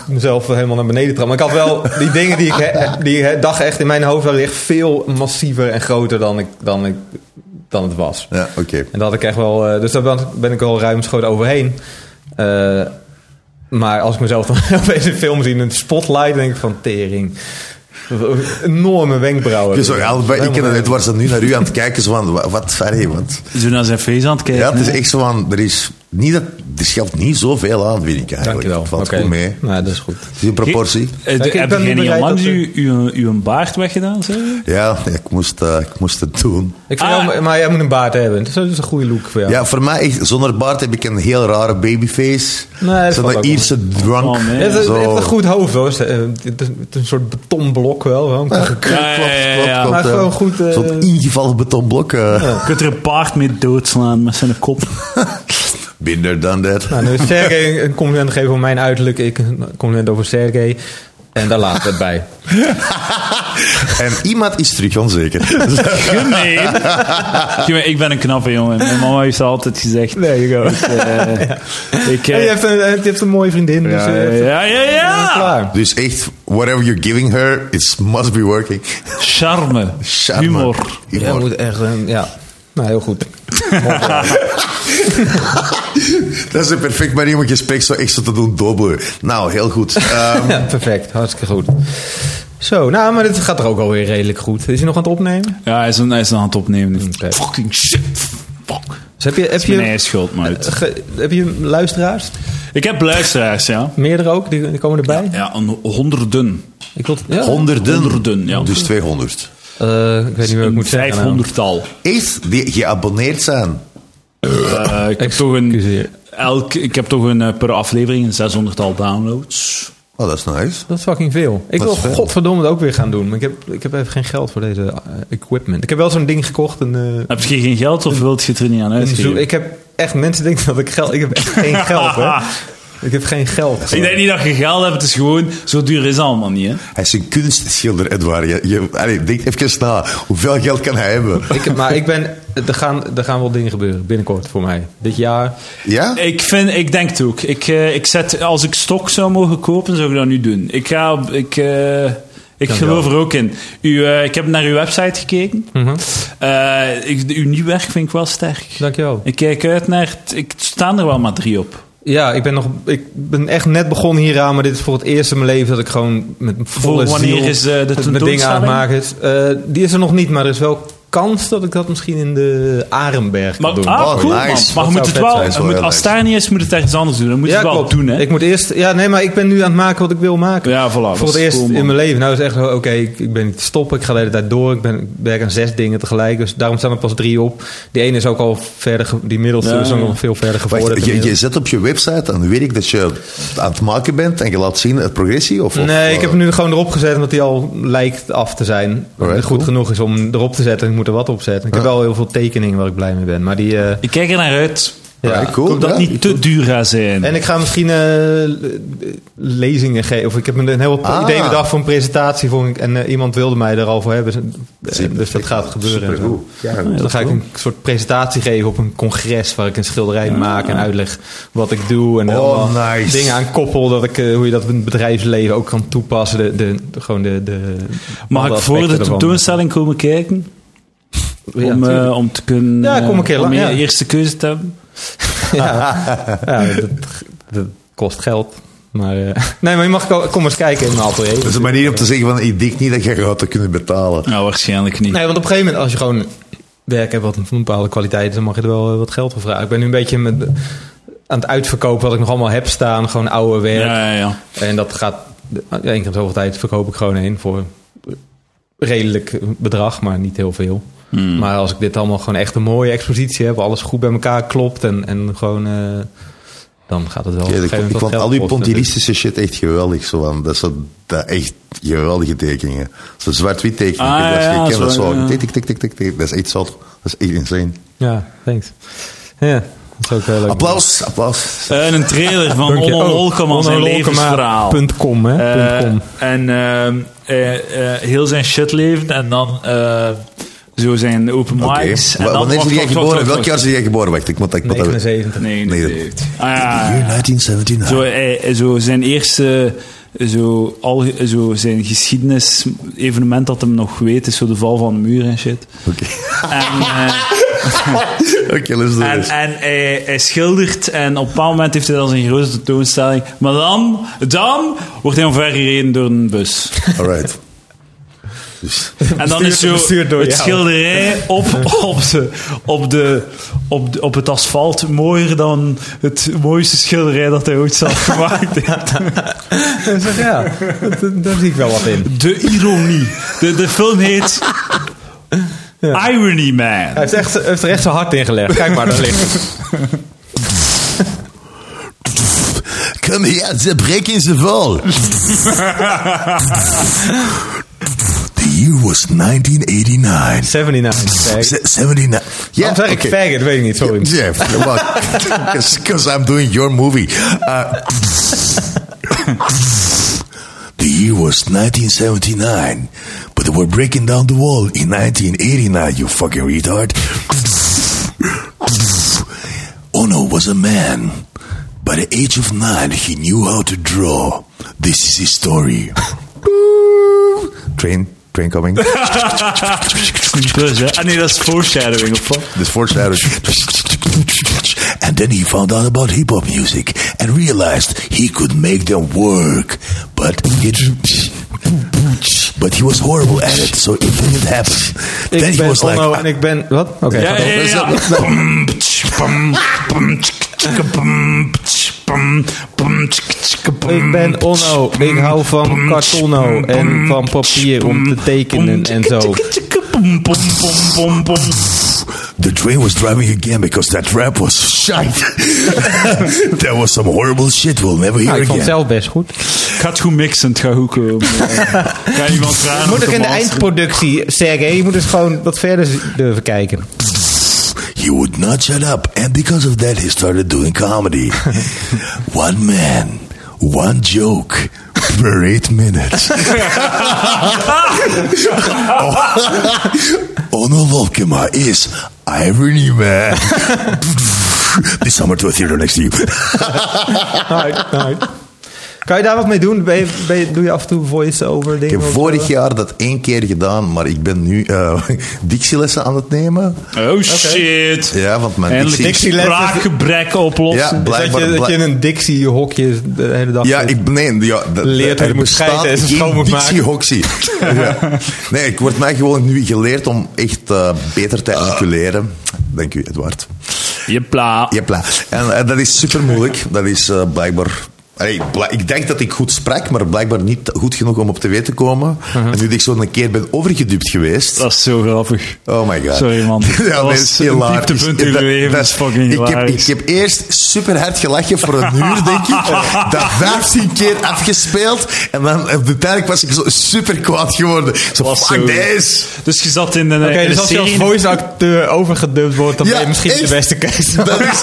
C: mezelf helemaal naar beneden trappen. Maar ik had wel die dingen die ik he- die he- dacht echt in mijn hoofd waren echt veel massiever en groter dan, ik, dan, ik, dan het was.
D: Ja, oké.
C: En dat had ik echt wel, eh, dus daar ben, ben ik wel ruimschoot overheen. Eh, maar als ik mezelf dan op deze film zie in een spotlight, denk ik van tering. Enorme wenkbrauwen.
D: Je zo, ja, ik
C: Helemaal
D: ken het,
C: nergens.
D: het was dan nu naar u aan het kijken. Zo van, wa- wat, sorry, wat.
A: Zo naar zijn face aan het kijken.
D: Ja, het is
A: hè?
D: echt zo van, er is niet dat, er scheelt niet zoveel aan, vind ik eigenlijk.
C: Dankjewel.
D: Het valt
C: Oké.
D: goed mee.
C: Nou, dat is goed.
D: Het is een proportie.
A: Eh,
C: Ik- ik
A: heb
C: ben
A: je
C: niet
A: niet
C: bereid
A: onlangs
C: dat-
A: uw, uw, uw baard weggedaan? Zeg?
D: Ja, ik moest, eh, ik moest het doen.
C: Ik vind
A: Ah.
C: jou- maar jij moet een baard hebben. Dat is- dat is een goede look voor jou.
D: Ja, voor mij, echt, zonder baard heb ik een heel rare babyface.
C: Nee, dat valt ook
D: Zo'n
C: wel
D: Ierse drunk.
A: Oh, nee.
C: Je hebt, een- je hebt
D: Zo.
C: een goed hoofd hoor. Het is- eh, het is een soort betonblok wel. wel.
A: Ja, ja, ja, ja, ja.
D: klopt,
C: Maar
D: klopt,
C: gewoon
D: eh.
C: goed, eh,
D: Zo'n ingevallen betonblok. eh.
A: Je kunt er een paard mee doodslaan met zijn kop.
D: Binder dan dat.
C: Nou, nu Sergej een compliment geven over mijn uiterlijk. Ik een compliment over Sergej. En daar laat het bij.
D: En iemand is terug onzeker. Dus,
A: Gemeen. Gemeen, Ik ben een knappe jongen. Mijn mama heeft altijd gezegd.
C: Nee, je
A: Ik, eh, ik, eh,
C: En je hebt een, je hebt een mooie vriendin. Dus,
D: Ja,
C: eh,
D: ja,
A: ja, ja, ja.
C: Klaar.
D: Dus echt, whatever you're giving her, it must be working.
A: Charme.
D: Charme.
A: Humor.
C: Jij
D: Humor.
C: moet echt een- ja. Nou, heel goed.
D: Dat is een perfect manier om een gesprek zo extra te doen dobbelen. Nou, heel goed. Ehm,
C: Ja, perfect. Hartstikke goed. Zo, nou, maar dit gaat er ook alweer redelijk goed. Is hij nog aan het opnemen?
A: Ja, hij is, een, hij is aan het opnemen.
C: Oké.
A: Fucking shit. Fuck.
C: Dus heb je, heb
A: Het is mijn
C: je,
A: eigen schuld, maar het-
C: ge- heb je luisteraars?
A: Ik heb luisteraars, ja.
C: Meerdere ook? Die, die komen erbij?
A: Ja, een honderden.
C: Ik wil, ja.
D: honderden.
A: Honderden, ja.
D: Dus 200.
C: Eh, ik weet niet meer wat ik moet zeggen. nou.
A: Vijfhonderdtal.
D: Echt, die geabonneerd zijn.
A: Eh, ik, heb toch een,
C: Excuseer.
A: elk, ik heb toch een, eh, per aflevering een 600-tal downloads.
D: Oh, dat is nice.
C: Dat is fucking veel. Ik
D: Dat
C: wil
D: is veel.
C: godverdomme het ook weer gaan doen. Maar ik heb, ik heb even geen geld voor deze eh, equipment. Ik heb wel zo'n ding gekocht. Een, eh,
A: Heb je geen geld of wilt je het er niet aan
C: een zo-
A: uitgeven?
C: ik heb echt mensen denken dat ik geld... Ik heb echt geen geld, hè. Ik heb geen geld.
A: Ik denk niet dat je geld hebt, het is gewoon... Zo duur is het allemaal niet, hè?
D: Hij is een kunstschilder, Edouard. Je, je, allee, denk even na. Hoeveel geld kan hij hebben?
C: Ik, heb- maar ik ben... Er gaan, er gaan wel dingen gebeuren binnenkort voor mij. Dit jaar.
D: Ja?
A: Ik, vind, ik denk het ook. Ik, eh, ik zet, als ik stok zou mogen kopen, zou ik dat nu doen. Ik, ga, op- ik, eh, ik geloof er ook in. U, eh, ik heb naar uw website gekeken.
C: Mhm.
A: Eh, ik, uw nieuw werk vind ik wel sterk.
C: Dankjewel.
A: Ik kijk uit naar... het- Ik staan er wel maar drie op.
C: Ja, ik ben, nog, ik ben echt net begonnen hieraan. Maar dit is voor het eerst in mijn leven dat ik gewoon met volle
A: Voor wanneer
C: ziel
A: is, eh, de
C: met mijn
A: tentoonstelling?
C: dingen aan het maken is. Eh, die is er nog niet. Maar er is wel kans dat ik dat misschien in de Arenberg kan
A: Maar,
C: doen.
A: ah,
D: Oh,
A: cool,
D: nice.
A: man.
D: Dat
A: Maar je
C: zou
A: moet het
C: vet
A: wel,
D: zijn,
A: je
D: zo
A: moet,
D: heel
A: als het
D: nice.
A: daar niet is, moet het ergens anders doen. Dan moet je het wel
C: klopt.
A: doen, hè?
C: Ik moet eerst, ja, nee, maar ik ben nu aan het maken wat ik wil maken.
A: Ja, voilà, dat
C: Voor
A: is
C: het eerst
A: cool, man.
C: in mijn leven. Nou is echt, oké, ik, ik ben niet te stoppen. Ik ga de hele tijd door. Ik, ben, ik werk aan zes dingen tegelijk. Dus daarom staan er pas drie op. Die ene is ook al verder, ge- die middelste
A: Ja,
C: is ook
A: ja.
C: al veel verder geworden.
D: Wacht, je, je zet op je website, dan weet ik dat je aan het maken bent en je laat zien het progressie? Of, of,
C: Nee, ik heb
D: eh,
C: hem nu gewoon erop gezet omdat hij al lijkt af te zijn.
D: Alright,
C: goed
D: cool.
C: genoeg is om hem erop te zetten. Ik moet er wat op zetten. Ik heb wel heel veel tekeningen waar ik blij mee ben. Maar die, eh,
A: Ik kijk er naar uit.
C: ja.
D: alright, cool,
A: dat het
D: ja.
A: niet te duur gaat zijn.
C: En ik ga misschien eh, lezingen geven. Of ik heb een heel
D: Ah.
C: idee bedacht voor een presentatie. Voor een- en eh, iemand wilde mij er al voor hebben. Dus, eh, dus dat gaat gebeuren. en zo.
D: Supergoed. Ja,
C: Dus dan ga ik een soort presentatie geven op een congres waar ik een schilderij maak en uitleg wat ik doe. En
D: Oh,
C: helemaal
D: nice.
C: dingen aan koppel dat ik, eh, hoe je dat in het bedrijfsleven ook kan toepassen. De, de, de- gewoon de, de,
A: Mag
C: alle
A: ik voor de
C: aspecten ervan.
A: tentoonstelling komen kijken?
C: Ja,
A: om, eh,
C: tuurlijk.
A: om te kunnen.
C: Ja, kom een
A: eh,
C: keer
A: Om
C: lang,
A: je
C: ja.
A: eerste keuze te hebben.
C: Ja, dat, dat kost geld. Maar, eh, nee, maar je mag ko- kom eens kijken in mijn atelier.
D: Dat is een manier om te zeggen van, ik denk niet dat je gaat dat kunnen betalen.
A: Nou, waarschijnlijk niet.
C: Nee, want op een gegeven moment, als je gewoon werk hebt wat een bepaalde kwaliteit is, dan mag je er wel eh, wat geld voor vragen. Ik ben nu een beetje met aan het uitverkopen wat ik nog allemaal heb staan. Gewoon oude werk.
A: Ja, ja, ja.
C: En dat gaat, één keer in de zoveel tijd verkoop ik gewoon één voor redelijk bedrag, maar niet heel veel.
A: Hmm.
D: Mm.
C: Maar als ik dit allemaal gewoon echt een mooie expositie heb, alles goed bij elkaar klopt en, en gewoon, eh, dan gaat het wel. op een
D: Ja, ik,
C: gegeven
D: vond- ik
C: moment wat
D: vond
C: geld
D: al die
C: kosten dus- natuurlijk.
D: pontilistische shit echt geweldig. Zo van, dat zijn dat echt geweldige tekeningen. Zo zwart-wit tekeningen.
A: Ah,
D: dat
A: ja,
D: je kent, dat is
A: zo,
D: zo.
A: ja.
D: Tik, tik, tik, tik, tik, tik. Dat is echt zot. Dat is echt insane.
C: dus- Ja, thanks. Ja, dat is ook heel leuk.
D: Applaus, applaus.
A: Eh, een trailer van
C: Dank je.
A: Onno
C: Oh,
A: Holkema, zijn
C: Onno
A: levensverhaal.
C: Holkema.com, hè?
E: Eh,
C: .com.
E: en ehm, eh, eh, heel zijn shitleven en dan eh, zo zijn open mics.
D: Oké.
E: En
D: Wa-
E: dan
D: Wanneer
E: wacht,
D: ben
E: wacht,
D: jij
E: wacht,
D: geboren?
E: wacht,
D: Welk
E: wacht.
D: jaar ben jij geboren? Wacht, ik moet dat... ik moet dat-
C: 79.
A: Nee,
D: Nee,
A: nee,
D: dat-
A: Ah, ja.
D: Year 1979.
A: Zo, eh, eh, zo zijn eerste eh, zo, al, eh, zo zijn geschiedenis evenement dat hem nog weet is zo de val van de muur en shit.
D: Oké.
A: En, eh,
D: Oké, let's do
A: en,
D: this.
A: en hij, hij schildert en op een bepaald moment heeft hij dan zijn grote tentoonstelling. Maar dan, dan wordt hij omvergereden door een bus.
D: Alright. Dus,
A: En dan is zo
C: Bestuurd door
A: het
C: jou.
A: schilderij op, op, de, op, de, op, de- op het asfalt mooier dan het mooiste schilderij dat hij ooit zelf gemaakt heeft.
C: En zeg, ja, dat- dat- daar zie ik wel wat in.
A: De ironie. De, de film heet Irony Man.
C: Hij heeft, echt, heeft er echt zijn hart in gelegd. Kijk maar, daar ligt het.
D: Kom hier, ze breken ze vol. The year was 1989.
C: 79. Kijk.
D: Se- 79. Ja,
C: Waarom zeg ik
D: oké.
C: faggot? Weet ik niet, sorry.
D: Yeah, because I'm doing your movie. Uh, the year was 1979, but they were breaking down the wall in 1989, you fucking retard. Ono was a man. By the age of nine, he knew how to draw. This is his story. train, train coming.
A: Dus, hè. Ah nee, dat is foreshadowing of wat?
D: This foreshadowing. And then he found out about hip hop music and realized he could make them work. But it, but he was horrible at it, so it didn't happen. then
C: Ik
D: he
C: ben
D: was like,
C: Onno en ik ben... Wat? Oké,
A: Ja,
C: gaat
A: ja,
C: op.
A: ja.
C: Ik ben Onno. Ik hou van kartonno en van papier om te tekenen en zo.
D: The train was driving again because that rap was shite. that was some horrible shit we'll never hear
C: Nou, ik vond het
D: again.
C: zelf best goed.
A: Het gaat goed mixen, het gaat goed komen. Ga iemand vragen?
C: moet
A: of
C: ik in de
A: master-
C: eindproductie zeggen. Je moet het gewoon wat verder durven kijken.
D: He would not shut up, and because of that, he started doing comedy. one man, one joke per eight minutes. Ono Volkema is irony man. this summer to a theater next to you.
C: Kan je daar wat mee doen? Ben je- ben je- doe je af en toe voice-over
D: Ik
C: dingen?
D: heb
C: of
D: vorig
C: zo?
D: jaar dat één keer gedaan, maar ik ben nu eh dictielessen aan het nemen.
A: Oh shit.
D: Ja, want mijn
A: Eindelijk
D: dictie...
C: Dixieland is-
A: spraakgebrek oplossen.
D: Ja,
A: Ja.
C: Is dat,
D: blijkbaar...
C: je, dat
D: blijk-
C: je in een Dixie-hokje de hele dag
D: Ja,
C: zit?
D: ik, nee, ja, dat-
C: Leert hoe je
D: er
C: moet scheiden en ze schoon moet maken.
D: Hoxie. ja. Nee, ik word mij gewoon nu geleerd om echt eh, beter te articuleren. Dank u, Edward.
A: Jepla.
D: Jepla. En eh, dat is super moeilijk. Dat is eh, blijkbaar. Allee, bla- ik denk dat ik goed sprak, maar blijkbaar niet goed genoeg om op tv te komen.
C: Mhm.
D: En nu dat ik zo een keer ben overgedupt geweest.
A: Dat is zo grappig.
D: Oh my god.
A: Sorry, man.
D: Ja,
A: Dat
D: nee,
A: was
D: het is
A: een
D: hilarisch.
A: dieptepunt in
D: Dat-
A: je leven,
D: dat
A: is fucking
D: ik heb, ik
A: hilarisch.
D: heb eerst super hard gelachen voor een uur, denk ik. Dat 15 keer afgespeeld. En dan eh, uiteindelijk was ik zo super kwaad geworden. Zo,
A: Was
D: fuck
A: zo.
D: this.
A: Dus je zat in een,
C: Oké,
A: in
C: dus
A: een
C: als je als
A: serie.
C: voice-acteur overgedubd wordt, dan ben je misschien de
D: echt.
C: beste keuze.
D: Dat is echt...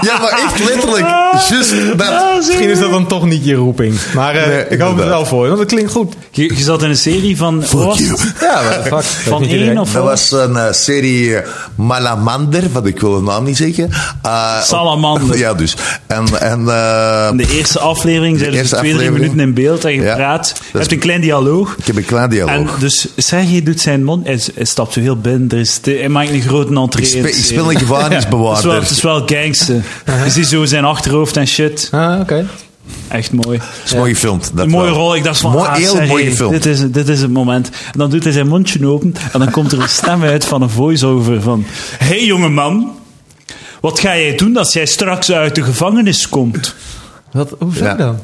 D: Ja, maar echt letterlijk. Just dat.
C: Misschien is dat dan toch niet je roeping. Maar eh,
D: Nee,
C: ik hoop het
D: inderdaad.
C: wel voor je, want het klinkt goed.
A: je, je zat in een serie van... wat
D: Fuck
A: was
D: you.
A: het?
C: Ja, maar fuck.
A: Van één of
D: Dat
A: wat?
D: was een eh, serie eh, Malamander, wat ik wil de naam niet zeggen. Eh,
A: Salamander.
D: Ja, dus. En, en eh,
A: In de eerste aflevering zijn
D: De
A: er
D: eerste
A: zo twee, drie
D: aflevering.
A: minuten in beeld en je
D: Ja.
A: praat.
D: Dat
A: Je
D: is-
A: hebt een klein dialoog.
D: ik heb een klein dialoog.
A: En dus Sergej doet zijn mond, hij, hij stapt zo heel binnen, er is de- hij maakt een grote
D: Ik,
A: entree. in
D: spe-
A: de
D: ik
A: serie.
D: speel een
A: Het is wel, het
D: gevangenisbewaarder.
A: is wel gangster.
D: Uh-huh.
A: Je ziet zo zijn achterhoofd en shit.
C: Ah, oké.
A: Echt mooi.
D: Het is mooi gefilmd. Dat
A: Een mooie
D: wel.
A: rol. Ik dacht van,
D: Mooi,
A: ah,
D: heel
A: Sergej,
D: mooi gefilmd.
A: Dit is, dit is het moment. En dan doet hij zijn mondje open en dan komt er een stem uit van een voice-over van... Hey jongeman, Wat ga jij doen als jij straks uit de gevangenis komt?
C: Wat, hoezo
D: Ja.
C: dan?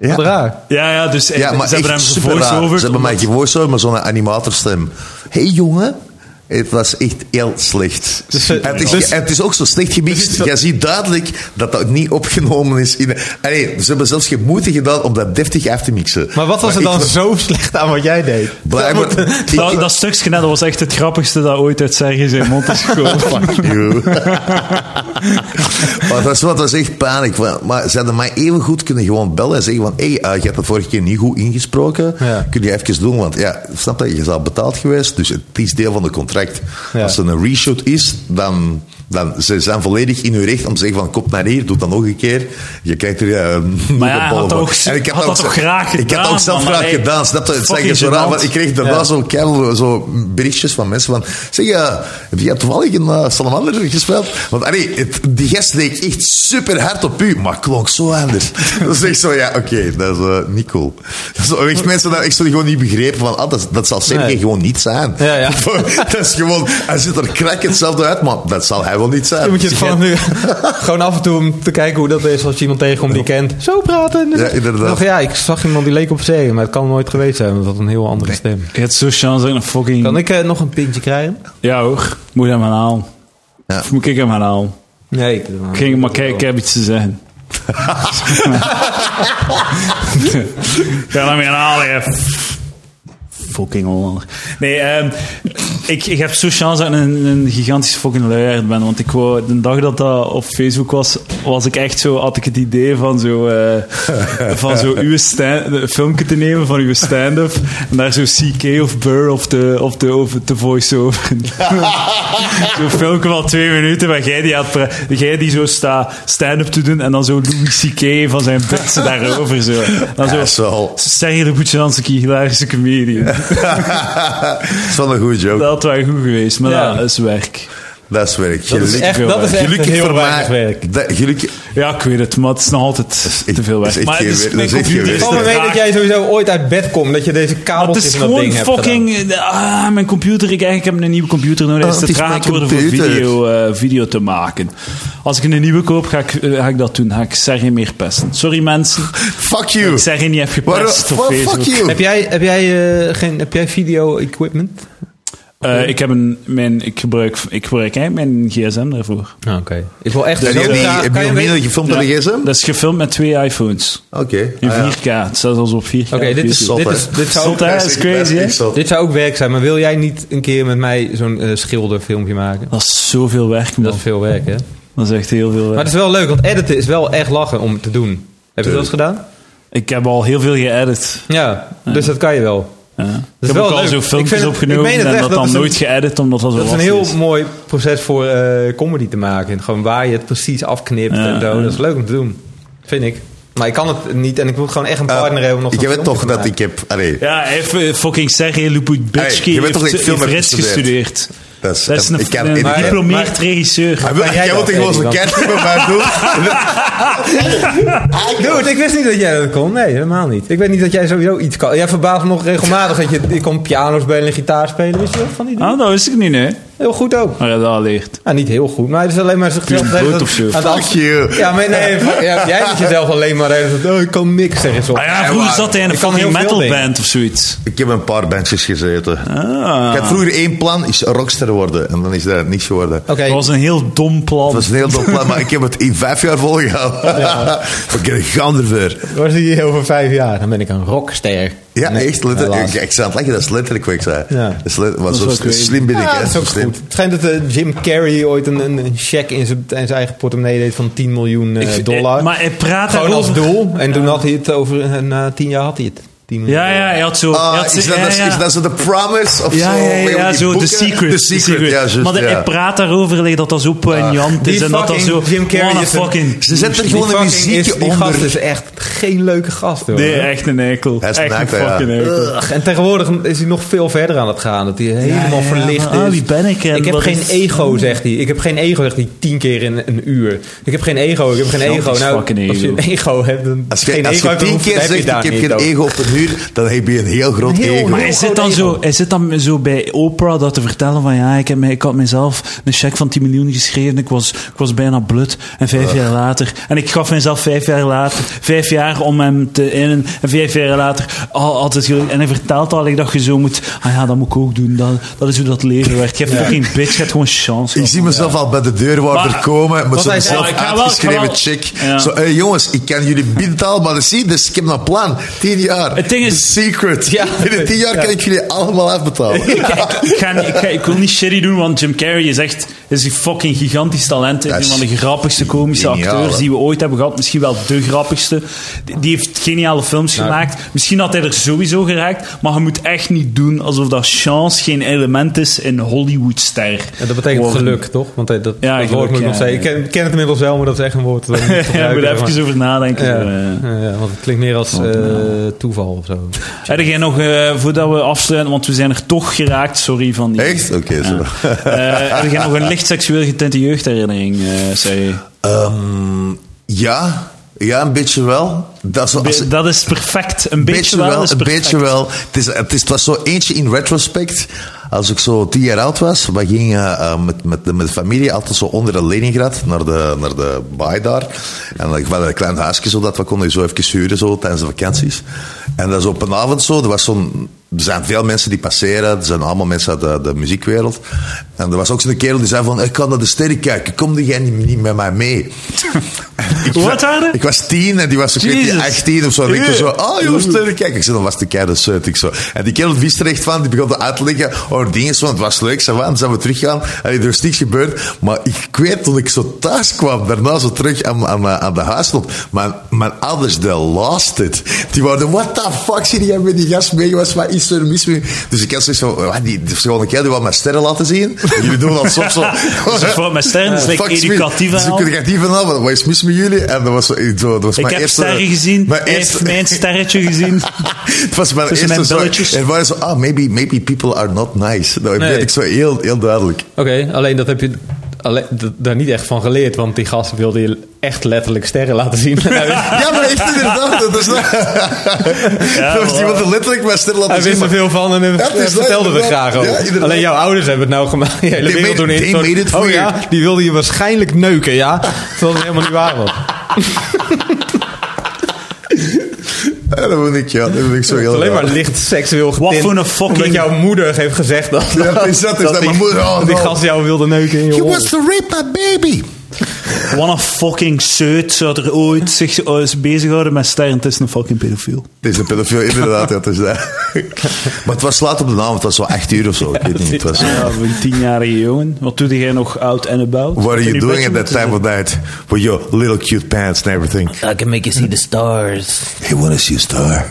D: Ja.
C: Wat raar.
A: Ja, ja, dus echt,
D: Ja, maar
A: ze hebben
D: echt
A: hem
D: super raar.
A: gevoice-overd.
D: Ze hebben mij geen voice-over, maar zo'n animatorstem. Hé hey, jongen. Het was echt heel slecht.
C: Dus, eh,
D: en, het is,
C: dus-
D: en het is ook zo slecht gemixt. Je ziet duidelijk dat dat niet opgenomen is. In, allee, ze hebben zelfs geen moeite gedaan om dat deftig af te mixen.
C: Maar wat was er
D: ik
C: dan
D: was
C: zo slecht aan wat jij deed?
D: blijkbaar- ik-
A: Dat, dat stukje net, dat was echt het grappigste dat ooit uit Serge zijn mond is gekomen.
D: Yo. maar dat was, dat was echt paniek. Maar- Maar ze hadden mij even goed kunnen gewoon bellen en zeggen van... Hé, hey, eh, je hebt het vorige keer niet goed ingesproken.
C: Ja.
D: Kun je even doen? Want ja, snap je, je is al betaald geweest. Dus het is deel van het contract.
C: Ja.
D: Als er een reshoot is, dan... Dan, ze zijn volledig in hun recht om te zeggen van kom naar hier, doe dat nog een keer. Je kijkt er eh, nieuwe
A: ja,
D: ballen
A: had
D: van.
A: ook- had dat
D: zelf-
A: toch graag
D: Ik had dat ook
A: gedaan,
D: zelf
A: man.
D: graag
A: Allee,
D: gedaan. Snap je? Het is
A: fucking
D: eigenlijk zo raar,
A: gênant.
D: want ik kreeg daarna
C: Ja.
D: zo keil, zo berichtjes van mensen van... Zeg, eh, heb jij toevallig een eh, salamander gespeeld? Want allee, het- die gast leek echt super hard op u, maar klonk zo anders. dat is echt zo, ja, oké, dat is eh, niet cool. Zo, echt mensen dat echt zo gewoon niet begrepen van... Ah, dat, dat zal Sergej
C: Nee.
D: gewoon niet zijn.
C: Ja, ja.
D: dat is gewoon... Hij ziet er krak hetzelfde uit, maar dat zal hij wel niet zijn.
C: Dan moet je het
D: Dus
C: gewoon nu gewoon af en toe om te kijken hoe dat is als je iemand tegenkomt die je kent. Zo praten.
D: Ja, inderdaad.
C: Nog, ja, ik zag iemand die leek op zee, maar het kan nooit geweest zijn, want dat had een heel andere stem.
A: Je hebt zo'n chance dat ik een fucking...
C: Kan ik eh, nog een pintje krijgen?
A: Ja hoor, moet je hem gaan halen.
D: Ja.
A: Of moet ik hem gaan halen?
C: Nee. Ik,
A: Ik ging maar kijken, ik heb iets te zeggen. Ga hem gaan halen, hè. Fucking Hollander. Nee, ehm, ik, ik heb zo'n chance dat ik een, een gigantische fucking luiaard ben. Want ik wou, de dag dat dat op Facebook was, was ik echt zo, had ik het idee van zo, eh, van zo uw stand, een filmpje te nemen van uw stand-up. En daar zo CK of Burr of de, of de, of de voice-over. Zo'n filmpje van twee minuten, maar jij die, had pra- jij die zo staat stand-up te doen en dan zo Louis C.K. van zijn bitsen daarover zo. Dan zo,
D: Ja, zo.
A: Serge de Boetjanski, hilarische comedian.
D: het- Het is wel een goede joke.
A: Dat had wel goed geweest, maar
C: Ja.
A: dat is werk.
D: Dat is werk.
C: dat is
D: Gelukkig-
C: echt, dat is echt
D: Gelukkig
C: heel
D: voor
C: weinig
D: mij.
C: werk.
D: dat- gelukkig,
A: Ja, ik weet het, maar het is nog altijd
D: echt-
A: te veel
D: dat is
A: werk.
D: echt
A: Maar het
D: geen
A: is,
D: werk,
A: mijn
D: dat is echt geen
A: computer
D: werk.
A: is
C: Ik kan me
A: te
C: weten
A: traag.
C: dat jij sowieso ooit uit bed komt, dat je deze
A: Maar het
C: kabeltjes
A: is
C: van dat
A: gewoon
C: ding hebt gedaan.
A: fucking... Ah, mijn computer, ik, eigenlijk heb ik een nieuwe computer nodig.
D: Ah,
A: Het is te
D: het is
A: traag
D: mijn
A: geworden voor
D: computer.
A: video, eh, video te maken. Als ik een nieuwe koop, ga ik, eh, ga ik dat doen. Ga ik Serge meer pesten. Sorry mensen,
D: Fuck you.
A: Serge niet heb
D: Waarom-
A: gepest op
D: waarom
A: Facebook.
D: eh, fuck you.
C: Heb jij, heb jij, eh, geen, heb jij video equipment?
A: Eh, ik, heb een, mijn, ik, gebruik, ik gebruik eigenlijk mijn gsm daarvoor.
C: Ah, oké. Ik wil echt
D: Heb
C: zo
D: je die-
C: graag-
D: heb je
C: kan je
D: nog
C: weten-
D: minder gefilmd op de gsm?
A: Dat is gefilmd met twee iPhones.
D: Oké.
A: In
D: Ah, ja.
A: 4K. Het staat als op 4K.
C: Oké, dit, is,
D: Zot,
C: dit,
D: hè?
C: is, dit, zou,
A: Zot, hè? Dat is crazy, hè?
D: echt zot.
C: dit zou ook werk zijn, maar wil jij niet een keer met mij zo'n eh, schilderfilmpje maken?
A: Dat is zoveel werk, man.
C: Dat is veel werk, hè?
A: Dat is echt heel veel
C: Maar
A: werk.
C: het is wel leuk, want editen is wel echt lachen om te doen. Heb je dat wel eens gedaan?
A: Ik heb al heel veel geëdit.
C: Ja, dus dat kan je wel.
A: Ja.
C: is
A: ik heb
C: wel
A: ook al
C: leuk.
A: zo
C: Ik
A: filmpjes
C: vind het-
A: opgenomen
C: ik meen het
A: en
C: echt,
A: dat
C: dat
A: dan
C: is een-
A: nooit geëdit, omdat dat zo Dus
C: Dat is een
A: lastig
C: heel
A: is.
C: mooi proces voor eh, comedy te maken. Gewoon waar je het precies afknipt
A: Ja,
C: en zo.
A: ja.
C: Dat is leuk om te doen, vind ik. Maar ik kan het niet en ik moet gewoon echt een
D: Eh,
C: partner hebben om nog
D: ik
C: zo'n
D: weet
C: filmpje
D: toch
C: te
D: dat
C: maken.
D: ik heb... Allee,
A: Ja, hij heeft eh, fucking Sergej Lubitschki
D: Hey, je weet
A: heeft,
D: toch dat ik film
A: heeft
D: heb
A: rechts
D: gestudeerd?
A: gestudeerd.
D: Dat is-
A: Dat is een,
D: ik kan-
A: een
D: ik- Ah,
A: gediplomeerd
C: maar-
A: regisseur.
D: Hij wil-
C: kan jij
D: Jij
C: dat,
D: wilt gewoon
C: Eddie,
D: zo'n
C: dan?
D: kerk met mij doen.
C: Dude, ik wist niet dat jij dat kon. Nee, helemaal niet. Ik weet niet dat jij sowieso iets kan. Jij verbaast me nog regelmatig dat je, je kon piano spelen en gitaar spelen. Wist je dat van die dingen?
A: Ah, dat wist ik niet, hè.
C: Heel goed ook.
A: Maar hij dat al leert.
C: Nou, niet heel goed, maar het is alleen maar zichzelf...
A: Puur
C: tegen-
A: brood of zo.
C: aan de
D: Fuck
C: af-
D: you.
C: Ja, maar nee, fuck- ja, jij zit jezelf alleen maar... tegen- Oh, ik kan niks zeggen. Zo.
A: Ah ja, vroeger zat hij in een
C: Ik kan heel
A: fucking
C: veel dingen.
A: metalband of zoiets.
D: Ik heb een paar bandjes gezeten.
A: Ah.
D: Ik had vroeger één plan, is rockster worden. En dan is dat niks geworden.
C: Oké,
A: Dat was een heel dom plan.
D: Dat was een heel dom plan, maar ik heb het in vijf jaar volgehouden. Oké, ik ga ervoor.
C: was hij over vijf jaar? Dan ben ik een rockster.
D: Ja,
C: Nee,
D: echt. Letterlijk,
C: helaas.
D: ik, ik zou het lachen, dat is letterlijk wat ik zei.
C: Ja.
D: Dat is let- maar
A: is
D: zo
A: wel
D: s-
A: crazy.
D: slim ben ik.
C: Ja,
D: hè.
C: dat is
D: Zo
C: ook
D: slim.
C: goed. Het schijnt dat eh, Jim Carrey ooit een, een, een check in zijn, in zijn eigen portemonnee deed van 10 miljoen eh,
A: Ik-
C: dollar.
A: eh, maar hij praat
C: Gewoon als
A: daarover.
C: doel. En toen had hij het over, eh, na 10 jaar had hij het. 10 miljoen
A: Ja, ja, hij had zo... hij
D: Ah,
A: had zo-
D: is, dat,
A: ja,
D: is-
A: ja.
D: is dat zo The Promise? Of
A: Ja,
D: zo?
A: ja, ja,
D: Weet je
A: ja,
D: die
A: zo, The
D: boeken?
A: Secret.
D: The Secret, ja, juist,
A: maar de,
D: ja. Ah.
A: hij praat daarover, like, dat dat zo poignant
C: die
A: is en dat dat zo...
C: fucking Jim Carrey
A: what a
C: is een-
A: fucking...
D: Ze zetten er
C: Die
D: gewoon een
C: fucking is-
D: muziekje
C: Die gast
D: onder.
C: is echt geen leuke gast, hoor.
A: Nee, echt een eikel.
D: Hij is een
A: echt een
D: eikel, ja.
A: fucking eikel.
C: Ugh, En tegenwoordig is hij nog veel verder aan het gaan. Dat hij helemaal
A: ja,
C: verlicht is.
A: maar, ah, wie ben ik en
C: ik heb
A: wat
C: geen
A: is-
C: ego, zegt hij. Ik heb geen ego, zegt hij tien keer in een uur. Ik heb geen ego, ik heb geen
A: Gigantisch
C: ego. Nou,
A: fucking
C: als je
A: ego.
C: een ego hebt, dan
D: Als je,
C: geen
D: als
C: ego
D: je
C: hebt, dan
D: tien
C: hoef-
D: keer
C: heb je
D: zegt,
C: daar
D: ik heb
C: niet
D: geen
C: over.
D: ego op een uur, dan heb je een heel groot
C: Heel-
D: ego.
A: Maar hij zit, dan zo, hij zit dan zo bij Oprah dat te vertellen van ja, ik, heb, mij- ik had mezelf een cheque van 10 miljoen geschreven, ik was, ik was bijna blut. En vijf jaar later, en ik gaf mezelf vijf jaar later, vijf jaar om hem te innen. En vijf jaar later, al altijd geluk. En hij vertelt al ik dat je zo moet, ah ja, dat moet ik ook doen. Dat, dat is hoe dat leven werkt. Je hebt geen bitch, je hebt gewoon chance.
D: Ik zie mezelf al bij de deurwaarder
A: Maar-
D: komen met
A: Want hij
D: zo'n
A: zei,
D: zelf
A: ik ga wel, ik ga
D: uitgeschreven
A: wel.
D: check.
A: Ja.
D: Zo, hey, jongens, ik kan jullie binnentaal, maar dat zie je, dus ik heb een plan. Tien jaar.
A: Het ding is-
D: The secret.
C: Ja.
D: Binnen tien jaar kan ik jullie allemaal afbetalen.
A: Kijk, ik, ga, niet- ik, ga- ik wil niet shitty doen, want Jim Carrey is echt is een fucking gigantisch talent. Hij is
D: Dat
A: een van
D: is
A: de grappigste komische
D: geniaal,
A: acteurs
D: hè?
A: die we ooit hebben gehad. Misschien wel de grappigste. Die, die heeft geniale films gemaakt. Misschien had hij er sowieso geraakt. Maar je moet echt niet doen alsof dat chance geen element is in Hollywoodster.
C: En dat betekent
A: worden.
C: geluk, toch? Want eh, dat, dat,
A: Ja,
C: dat
A: geluk,
C: woord moet ik
A: ja,
C: nog steeds...
A: ja.
C: Ik ken, ken het inmiddels wel, maar dat is echt een woord. Dat ik niet
A: Ja, ik moet
C: gebruiken,
A: er even over nadenken.
C: maar-
A: Eh.
C: ja, ja, ja, want het klinkt meer als
A: nou?
C: eh, toeval of zo.
A: Heb jij nog, eh, voordat we afsluiten, want we zijn er toch geraakt, sorry van die...
D: Echt? Oké, zo.
A: Eh, heb jij nog een licht seksueel getinte jeugdherinnering, eh zei je?
D: Ehm, ja, ja, een beetje wel. Dat is, wel- als-
A: Be- dat is perfect. Een beetje, wel, is
D: een
A: perfect.
D: beetje wel. Het, is, het, is, het was zo eentje in retrospect. Als ik zo tien jaar oud was, we gingen eh, met, met, de, met de familie altijd zo onder de Leningrad naar de, naar de baai daar. En ik had een klein huisje zodat we konden zo even huren zo, tijdens de vakanties. En dat is op een avond zo. Er, was zo'n, er zijn veel mensen die passeren. Er zijn allemaal mensen uit de, de muziekwereld. En er was ook zo'n kerel die zei van, ik kan naar de sterren kijken. Kom jij niet, niet met mij mee? Ik
A: Hoe
D: wa-
A: oud waren?
D: Ik was tien en die was ik weet niet,
A: Jezus.
D: 18 of zo. En ik was zo,
A: Ja.
D: oh jongens, leuk. Kijk, ik zei, dan was de keiharde zeut. Ik zo. En die kerel wist er echt van. Die begon te uitleggen over dingen. zo, Want het was leuk. Zei, dan zijn we teruggaan. En er is niks gebeurd. Maar ik weet dat ik zo thuis kwam. Daarna zo terug aan, aan, aan de huis stond. Mijn, mijn ouders, they lost it. Die waren, what the fuck zit jij met die gast mee? Was, wat is er mis mee? Dus ik had zoiets van, wat, die, die is gewoon een kerel die wil mijn sterren laten zien. En jullie doen dat soms zo.
A: Dus voor mijn sterren, dat is like
D: Fuck, Smith.
A: educatief
D: Dat is
A: en al.
D: educatief en al. Wat is mis met jullie? En dat was, zo- zo, dat was
A: Ik
D: mijn
A: heb
D: eerste,
A: sterren gezien.
D: mijn
A: Hij heeft
D: eerste-
A: mijn sterretje gezien.
D: het was mijn
A: Tussen mijn
D: eerste
A: belletjes.
D: zo. En waren zo, ah, maybe, maybe people are not nice. Dat
C: Nee.
D: weet ik zo heel, heel duidelijk.
C: Oké, alleen dat heb je alle- d- daar niet echt van geleerd. Want die gast wilde je echt letterlijk sterren laten zien. Hij wist-
D: Ja, maar echt inderdaad. Dat is dat was iemand die letterlijk mijn ster
C: Hij
D: laten zien.
C: wist er
D: Dus maar-
C: veel van en hij
D: het is
C: vertelde
D: leuk,
C: er graag
D: inderdaad. Ja,
C: over.
D: inderdaad.
C: Alleen jouw ouders hebben het nou gemaakt. De hele
D: They
C: wereld
D: made-
C: doen
D: they
C: in.
D: made it
C: oh
D: for
C: ja,
D: you.
C: die wilde je waarschijnlijk neuken, ja? Terwijl het helemaal niet waar was.
D: Ja, dat vond ik, ja. Dat vond ik zo heel
C: alleen maar
D: raar.
C: licht seksueel getint.
A: voor een fucking-
C: Omdat jouw moeder heeft gezegd dat...
D: Ja, dat is dat. Is dat
C: die-
D: mijn moeder. Oh,
C: dat die
D: no.
C: gast jou wilde neuken in je
D: He
C: hol.
D: wants to rape my baby.
A: Wat een fucking zeut zou er ooit zich eh, eens bezighouden met sterren. Het is een fucking pedofiel.
D: Het is een pedofiel, inderdaad. Ja, het is dat. Maar het was laat op de naam. Het was zo 8 uur of zo. Ik weet niet. Het was,
A: Ja, voor een tienjarige jongen. Wat doe jij nog out and about?
D: what are
A: In
D: you
A: je
D: doing at
A: bedje
D: that time of night? With your little cute pants and everything.
B: I can make you see the stars.
D: He wants to see a star.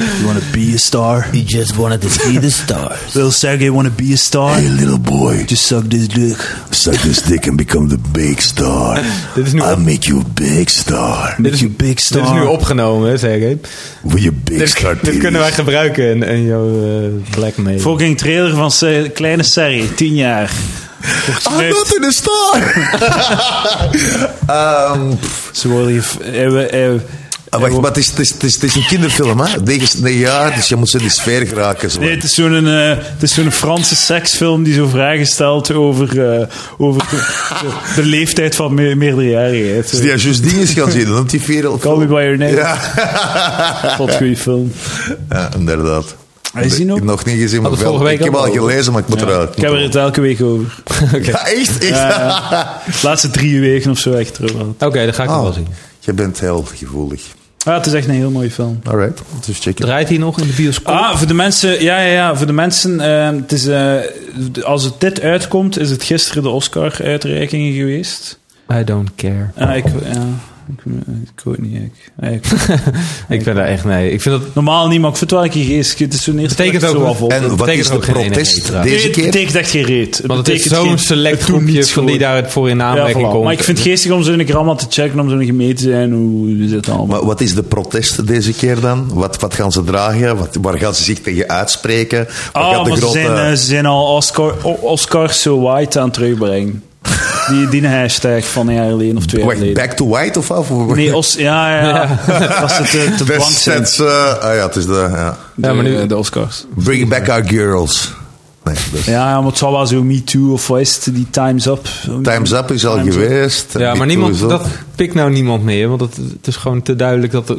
A: You wanna be a star?
B: You just wanted to see the stars.
A: Little Sergey wanna be a star?
D: Hey, little boy.
A: Just suck this dick.
D: Suck this dick and become the big star.
C: Dit is nu-
D: I'll make you a big star.
A: Make you big star.
C: Dit is nu opgenomen, hè, zeg ik.
D: With your big star
C: Dit, dit kunnen wij
D: titties.
C: gebruiken in, in jouw eh, blackmail.
A: Fucking trailer van Se- Kleine Sergey, tien jaar. Wordt
D: I'm
A: geneukt.
D: not in a star. Ehm, pff,
A: Ze worden... gev- eh, we- eh,
D: ah, wacht, maar het is, het, is, het, is, het is een kinderfilm, hè? Negen, negen jaar, dus je moet ze in die sfeer geraken. Zo.
A: Nee, het is zo'n eh, het is zo'n Franse seksfilm die zo vragen stelt over, eh, over de, de leeftijd van me meerderejarigen.
D: Dus die
A: Zo,
D: als juist dingen gaan zien, dan op die wereld.
A: Call me by your name.
D: Ja.
A: Wat een goede film.
D: ja, inderdaad.
A: Hij is die
D: Ik
A: nog?
D: heb nog niet gezien, maar
C: Hadden
D: wel-
C: vorige week
D: ik heb al
C: ook al.
D: gelezen, maar ik moet eruit.
A: Ik heb er het elke week over. Eh,
D: Ja, echt? echt?
A: De laatste drie weken of zo echt terug aan.
C: Oké, dat ga ik nog
D: Oh,
C: wel zien.
D: je bent heel gevoelig.
A: Ah, het is echt een heel mooie film.
D: Alright, dus check it.
C: Draait hij nog in de bioscoop?
A: Ah, voor de mensen, ja, ja, ja voor de mensen, eh, het is, eh, d- als het dit uitkomt, is het gisteren de Oscar-uitreiking geweest.
C: I don't care.
A: Ah, ik, ja, ik, ik weet niet, ik, ah, ik-
C: Ik ben daar echt mee. Ik vind dat...
A: normaal niet, maar ik vind het wel een keer geest. Het is zo'n eerste
C: Betekent
A: keer
C: ook
A: zo
C: wel-
A: af op.
D: En wat
C: betekent
D: is de
C: ook geen
D: protest
C: ene meter, hè?
A: Nee,
D: deze
A: het
D: keer?
A: betekent echt geen reet. Het
C: Want het is
A: betekent geen-
C: zo'n select
A: het doet
C: groepje
A: niets
C: van die
A: gewoon.
C: daar voor in
A: ja,
C: aanmerking
A: voilà.
C: komt.
A: Maar ik vind het geestig om zo'n grammar te checken, om zo'n gemeente te zijn, hoe zit het allemaal.
D: Maar wat is de protest deze keer dan? Wat, wat gaan ze dragen? Wat, waar gaan ze zich tegen uitspreken?
A: Ah,
D: Wat gaat de
A: maar ze
D: grote-
A: zijn, eh, ze zijn al Oscar, O- Oscars zo white aan het terugbrengen. Die, die hashtag van een jaar geleden of twee jaar
D: Wacht,
A: geleden.
D: back to white of af?
A: eh, Nee, Os, ja, ja. Dat was het eh, te blank
D: Best
A: zijn.
D: sets, eh, ah ja, het is de, ja.
A: De,
C: Ja, maar nu-
A: de Oscars.
D: Bring back our girls. Nee, dus dat is-
A: Ja, ja, maar het zou wel zo Me Too of wat is het, die Times Up.
D: Times Up is al
A: Time's Up.
D: geweest.
C: Ja,
D: Die
C: maar
D: is
C: niemand,
D: op.
C: dat pikt nou niemand meer. Want het, het is gewoon te duidelijk dat er,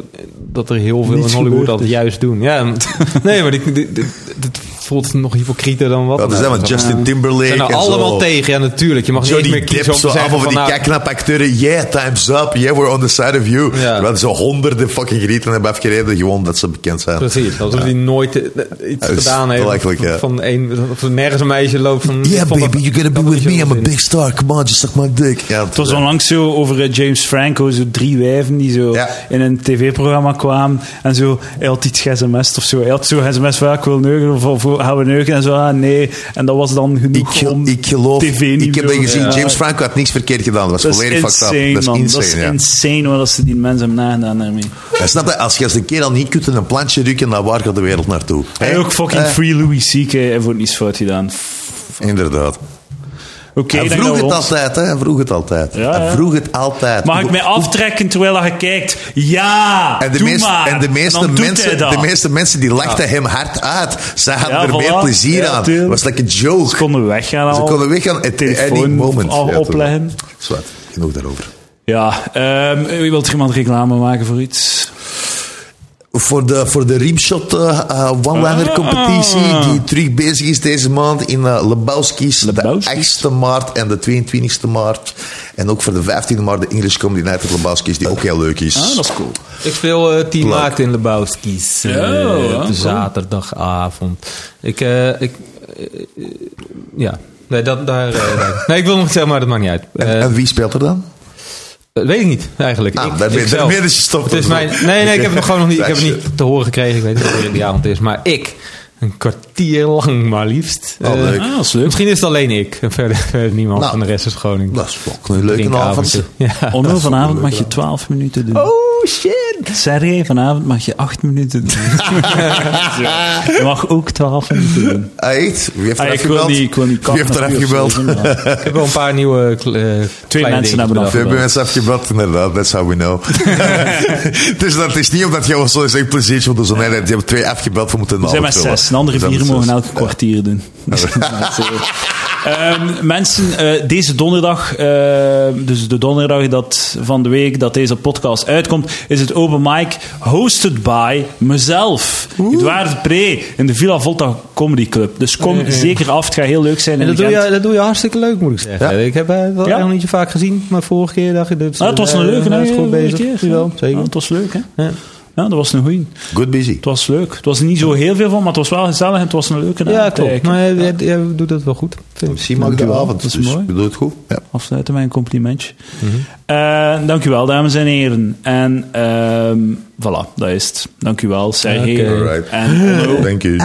C: dat er heel veel
A: Niets
C: in Hollywood
A: gebeurd
C: dat juist doen. Ja, m- nee, maar die- die- die- het voelt nog hypocrieter dan wat.
D: Dat is
C: nou.
D: dan met
C: Ze
D: Justin Timberlake
C: zijn er
D: en
C: allemaal
D: zo.
C: tegen. Ja, natuurlijk. Je mag niet eens
D: Johnny
C: meer kiezen
D: Depp
C: om
D: zo
C: te
D: af
C: zeggen
D: over
C: van...
D: die
C: nou,
D: kaknap acteuren. Yeah, time's up. Yeah, we're on the side of you.
C: Ja.
D: Terwijl zo honderden fucking gerieten hebben afgereden. Gewoon dat ze bekend zijn.
C: Precies, alsof hij nooit eh, iets
D: Dat is
C: gedaan heeft.
D: belachelijk, ja.
C: Van één, of er nergens een meisje loopt van...
D: Yeah,
C: van
D: baby, you're gonna
C: dat
D: be
C: is
D: with me. I'm a
C: onzin.
D: big star. Come on, just suck my dick. Ja,
A: Het was onlangs zo over eh, James Franco, zo drie wijven die zo
D: Ja.
A: in een tv-programma kwamen en zo, hij had iets sms of zo. Hij had zo sms van, ja, ik wil neugen of, of gaan we neugen en zo, ah, nee. En dat was dan
D: Ik,
A: genoeg om
D: ik geloof,
A: tv niet
D: ik heb
A: meer-
D: dat gezien.
A: Ja.
D: James Franco had niks verkeerd gedaan. Dat was
A: Dat is
D: volledig fucked
A: insane,
D: up. Dat is
A: man.
D: insane,
A: dat is
D: ja.
A: insane wat ze die mensen hebben nagedaan daarmee.
D: Ja, snap je? Als je als een keer al niet kunt in een plantje rukken, dan waar gaat de wereld naartoe?
A: En
D: Hè?
A: ook fucking
D: Eh,
A: Free Louis C.K. heeft ook niets fout gedaan.
D: Inderdaad.
A: Oké,
D: Hij
A: ik denk
D: vroeg
A: dat
D: het
A: we ons-
D: altijd, hè? Hij vroeg het altijd.
A: Ja, ja.
D: Hij vroeg het altijd.
A: Mag ik mij aftrekken terwijl dat je kijkt? Ja!
D: En de,
A: doe
D: meest-
A: maar.
D: en de meeste,
A: dan doet hij
D: mensen,
A: dat.
D: de meeste mensen die lachten hem hard uit. Ze hadden
A: Ja,
D: er meer
A: voilà.
D: plezier
A: Ja,
D: aan. Het
A: tuurlijk.
D: was like een
A: Ze
D: joke.
A: konden weggaan al.
D: Ze konden weggaan at any
A: Telefoon
D: moment.
A: al opleggen.
D: Zwart, genoeg daarover.
A: Ja, ehm wilt er iemand reclame maken voor iets?
D: Voor de, voor de Rimshot eh, eh,
A: Ah.
D: One-Liner competitie die terug bezig is deze maand in eh, Lebowski's.
A: Lebowski's?
D: De 8e maart en de 22e maart. En ook voor de 15e maart de English Comedy Night at Lebowski's die ook heel leuk is.
A: Ah, dat is cool.
C: Ik speel eh, Team
D: Leuk.
C: Maakt in Lebowski's. eh,
A: Ja,
C: op de
A: cool.
C: zaterdagavond. Ik, eh, ik eh, eh, ja. Nee, dat, daar, eh, daar- nee, ik wil nog zeggen, maar dat maakt niet uit.
D: en,
C: Eh,
D: en wie speelt er dan?
C: dat weet ik niet, eigenlijk.
D: Ah,
C: ik,
D: daar ben-
C: ikzelf.
D: daar ben je gestopt.
C: Het is mijn, nee, nee, ik heb het nog gewoon nog niet, ik heb het
D: Shit.
C: niet te horen gekregen. Ik weet niet wanneer die avond is. Maar ik, een kwartier lang maar liefst.
D: Oh,
C: Eh,
D: leuk.
A: Ah, dat is leuk.
C: Misschien is het alleen ik. En Verder, verder niemand
D: Nou,
C: van de rest is gewoon een
D: Dat is fucking een leuke
C: drinkavondje.
D: avond.
C: Ja.
A: Onno, vanavond mag je 12 minuten doen.
C: Oh, shit!
A: Sergej, vanavond mag je 8 minuten doen. Ja. je mag ook 12 minuten doen.
D: Ah, echt? Wie heeft
A: Ah,
D: er
A: ik wil
D: afgebeld?
A: niet, ik wil niet
D: Wie heeft er
A: kappen,
D: afgebeld?
A: natuurlijk,
D: Veel
A: maar-
C: Ik heb wel een paar nieuwe kle- eh, kleine
A: mensen
C: dingen
A: hebben dat.
C: bedacht.
D: mensen afgebeld, inderdaad. That's how we know. dus dat is niet omdat je zo zegt plezier want zo. Nee, nee, die hebben twee afgebeld. We moeten een
A: Er zijn maar
D: half vullen.
A: zes. De andere
D: Er zijn
A: vier
D: maar
A: mogen
D: zes.
A: elke kwartier doen. Dus Maar zo. Ehm, mensen, eh, deze donderdag, eh, dus de donderdag dat, van de week dat deze podcast uitkomt, is het open mic hosted by mezelf. Edouard Pre in de Villa Volta Comedy Club. Dus kom zeker af, het gaat heel leuk zijn.
C: En
A: in
C: dat doe,
A: Gent.
C: je, dat doe je hartstikke leuk, moet ik zeggen. Ik heb het wel
A: Ja.
C: echt nog niet zo vaak gezien, maar vorige keer dacht ik... Dat
A: Ah, het was een
C: eh,
A: leuke,
C: hij is
A: hè?
C: goed bezig.
A: Keer,
C: Jawel, zeker.
A: Ah, het was leuk, hè?
C: Ja.
A: Ja, dat was een goeie.
D: Good busy.
A: Het was leuk. Het was niet zo heel veel van, maar het was wel gezellig en het was een leuke
C: Ja,
A: avond
C: klopt. Nou,
A: eigenlijk.
C: Maar eh, jij, jij- jij doet dat wel goed, vind ik.
D: Misschien maak ik je
A: Dankjewel,
D: avond.
A: dat is
D: Dus
A: mooi.
D: je doet het goed. Ja.
A: afsluiten met een complimentje.
D: Mhm.
A: Eh, dankjewel, dames en heren. En ehm voilà, dat is het. Dankjewel, Sergej.
C: Oké.
D: Alright.
A: En Onno.
D: Thank you.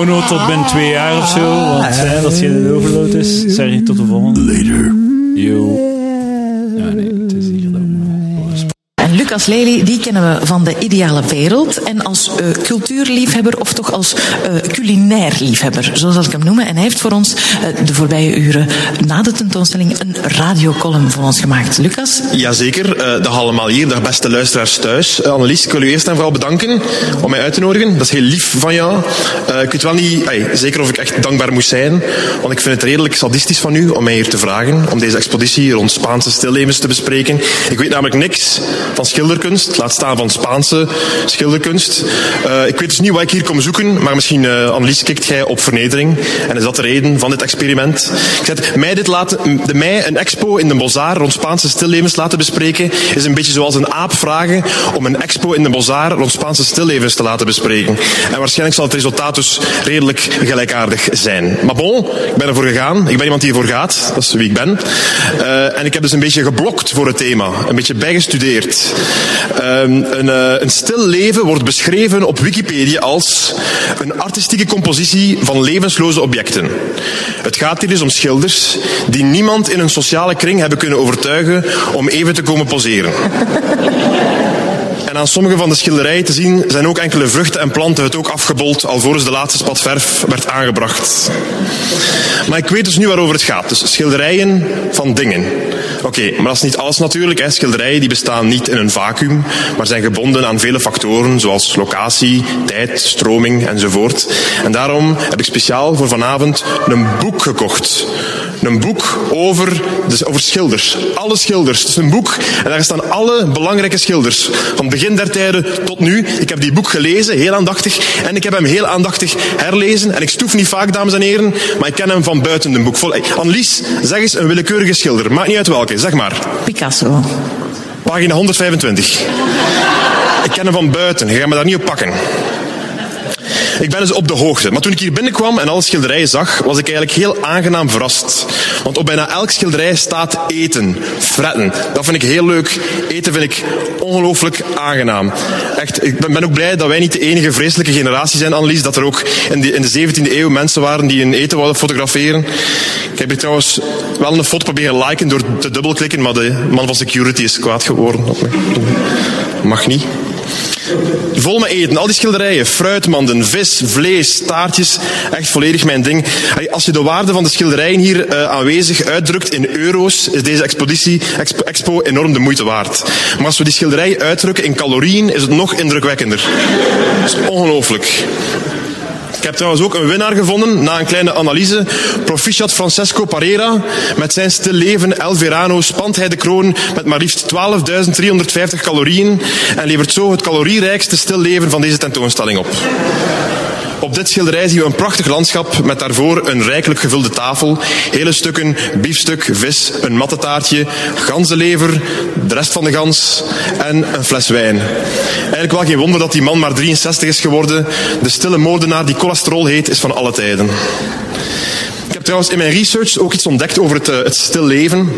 A: Onno tot binnen twee jaar of zo, want hè, dat je de overload is. Sergej, tot de volgende.
D: Ah. Later.
A: Yo. Ja, nee, het is hier dan.
F: En Lucas Lely, die kennen we van de ideale wereld. En als eh, cultuurliefhebber, of toch als eh, culinair liefhebber, zo zal ik hem noemen. En hij heeft voor ons eh, de voorbije uren na de tentoonstelling een radiocolumn voor ons gemaakt. Lucas,
G: Jazeker, eh dag allemaal hier, dag beste luisteraars thuis. Eh, Annelies, ik wil u eerst en vooral bedanken om mij uit te nodigen. Dat is heel lief van jou. Eh, ik weet wel niet ai, zeker of ik echt dankbaar moet zijn, want ik vind het redelijk sadistisch van u om mij hier te vragen om deze expeditie rond Spaanse stillevens te bespreken. Ik weet namelijk niks van schilderkunst, laat staan van Spaanse schilderkunst. Eh, ik weet dus niet wat ik hier kom zoeken, maar misschien, eh Annelies, kikt jij op vernedering. En is dat de reden van dit experiment? Ik zet mij, dit laten, de, mij een expo in de Bozar rond Spaanse stillevens laten bespreken, is een beetje zoals een aap vragen om een expo in de Bozar rond Spaanse stillevens te laten bespreken. En waarschijnlijk zal het resultaat dus redelijk gelijkaardig zijn. Maar bon, ik ben ervoor gegaan. Ik ben iemand die ervoor gaat. Dat is wie ik ben. Eh, en ik heb dus een beetje geblokt voor het thema. Een beetje bijgestudeerd. Ehm, een, eh, een stil leven wordt beschreven op Wikipedia als een artistieke compositie van levensloze objecten. Het gaat hier dus om schilders die niemand in een sociale kring hebben kunnen overtuigen om even te komen poseren. En aan sommige van de schilderijen te zien zijn ook enkele vruchten en planten het ook afgebold alvorens de laatste spat verf werd aangebracht. Maar ik weet dus nu waarover het gaat. Dus schilderijen van dingen. Oké, maar dat is niet alles natuurlijk. Hè. Schilderijen die bestaan niet in een vacuüm, maar zijn gebonden aan vele factoren zoals locatie, tijd, stroming enzovoort. En daarom heb ik speciaal voor vanavond een boek gekocht. Een boek over, dus over schilders. Alle schilders. Het is een boek en daar staan alle belangrijke schilders. Van begin der tijden tot nu. Ik heb die boek gelezen, heel aandachtig. En ik heb hem heel aandachtig herlezen. En ik stoef niet vaak, dames en heren, maar ik ken hem van buiten de boek. Vol- Hey, Annelies, zeg eens een willekeurige schilder. Maakt niet uit welke, zeg maar.
F: Picasso.
G: Pagina 125. Ik ken hem van buiten, je gaat me daar niet op pakken. Ik ben dus op de hoogte. Maar toen ik hier binnenkwam en alle schilderijen zag, was ik eigenlijk heel aangenaam verrast. Want op bijna elk schilderij staat eten, fretten. Dat vind ik heel leuk. Eten vind ik ongelooflijk aangenaam. Echt, ik ben ben ook blij dat wij niet de enige vreselijke generatie zijn, Annelies. Dat er ook in de, in de 17e eeuw mensen waren die hun eten wilden fotograferen. Ik heb hier trouwens wel een foto proberen liken door te dubbelklikken, maar de man van security is kwaad geworden. op me. Mag niet. Vol met eten, al die schilderijen, fruitmanden, vis, vlees, staartjes. Echt volledig mijn ding. Hey, Als je de waarde van de schilderijen hier eh, aanwezig uitdrukt in euro's, is deze expositie, expo, expo enorm de moeite waard. Maar als we die schilderijen uitdrukken in calorieën, is het nog indrukwekkender. Dat is ongelooflijk. Ik heb trouwens ook een winnaar gevonden na een kleine analyse. Proficiat Francesco Parera. Met zijn stil leven El Verano spant hij de kroon met maar liefst 12.350 calorieën. En levert zo het calorierijkste stil leven van deze tentoonstelling op. Op dit schilderij zien we een prachtig landschap met daarvoor een rijkelijk gevulde tafel, hele stukken biefstuk, vis, een mattetaartje, ganzenlever, de rest van de gans en een fles wijn. Eigenlijk wel geen wonder dat die man maar 63 is geworden. De stille moordenaar die cholesterol heet is van alle tijden. Ik heb trouwens in mijn research ook iets ontdekt over het, eh, het stil leven.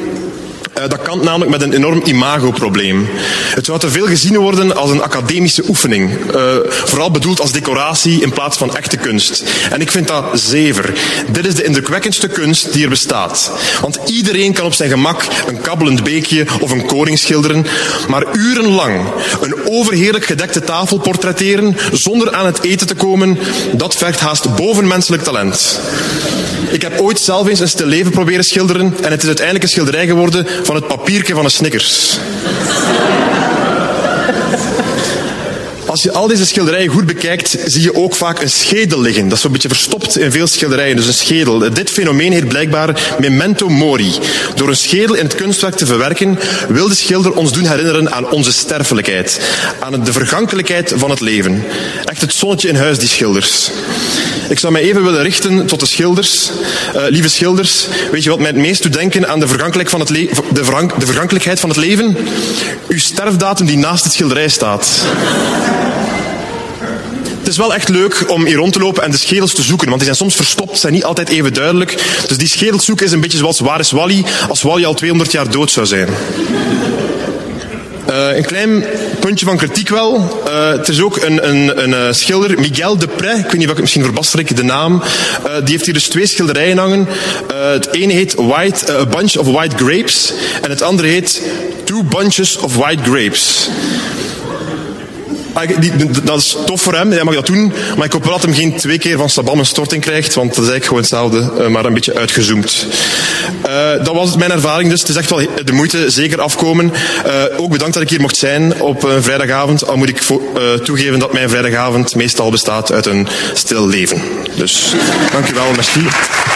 G: Eh, dat kant namelijk met een enorm imagoprobleem. Het zou te veel gezien worden als een academische oefening. eh, vooral bedoeld als decoratie in plaats van echte kunst. En ik vind dat zever. Dit is de indrukwekkendste kunst die er bestaat. Want iedereen kan op zijn gemak een kabbelend beekje of een koring schilderen. Maar urenlang een overheerlijk gedekte tafel portretteren zonder aan het eten te komen, dat vergt haast bovenmenselijk talent. Ik heb ooit zelf eens een stil leven proberen schilderen en het is uiteindelijk een schilderij geworden van het papiertje van een Snickers. Als je al deze schilderijen goed bekijkt, zie je ook vaak een schedel liggen. Dat is zo'n beetje verstopt in veel schilderijen, dus een schedel. Dit fenomeen heet blijkbaar memento mori. Door een schedel in het kunstwerk te verwerken, wil de schilder ons doen herinneren aan onze sterfelijkheid. Aan de vergankelijkheid van het leven. Echt het zonnetje in huis, die schilders. Ik zou mij even willen richten tot de schilders. Eh, lieve schilders, weet je wat mij het meest doet denken aan de, vergankelijk van het le- de, vergank- de vergankelijkheid van het leven? Uw sterfdatum die naast het schilderij staat. Het is wel echt leuk om hier rond te lopen en de schedels te zoeken, want die zijn soms verstopt, zijn niet altijd even duidelijk. Dus die schedels zoeken is een beetje zoals waar is Wally als Wally al 200 jaar dood zou zijn. Eh, een klein puntje van kritiek wel. Eh, het is ook een, een, een eh, schilder, Miguel Depré. Ik weet niet wat ik misschien verbaster ik de naam. Eh, die heeft hier dus twee schilderijen hangen. Eh, het ene heet White, eh, A Bunch of White Grapes. En het andere heet Two Bunches of White Grapes. Ah, ik- die- d- dat is tof voor hem, hij mag dat doen. Maar ik hoop wel dat hem geen twee keer van Sabam een storting krijgt. Want dat is eigenlijk gewoon hetzelfde, eh, maar een beetje uitgezoomd. Eh, dat was het, mijn ervaring dus. Het is echt wel he- de moeite, zeker afkomen. Eh, ook bedankt dat ik hier mocht zijn op een vrijdagavond. Al moet ik vo- eh, toegeven dat mijn vrijdagavond meestal bestaat uit een stil leven. Dus dank u wel, merci.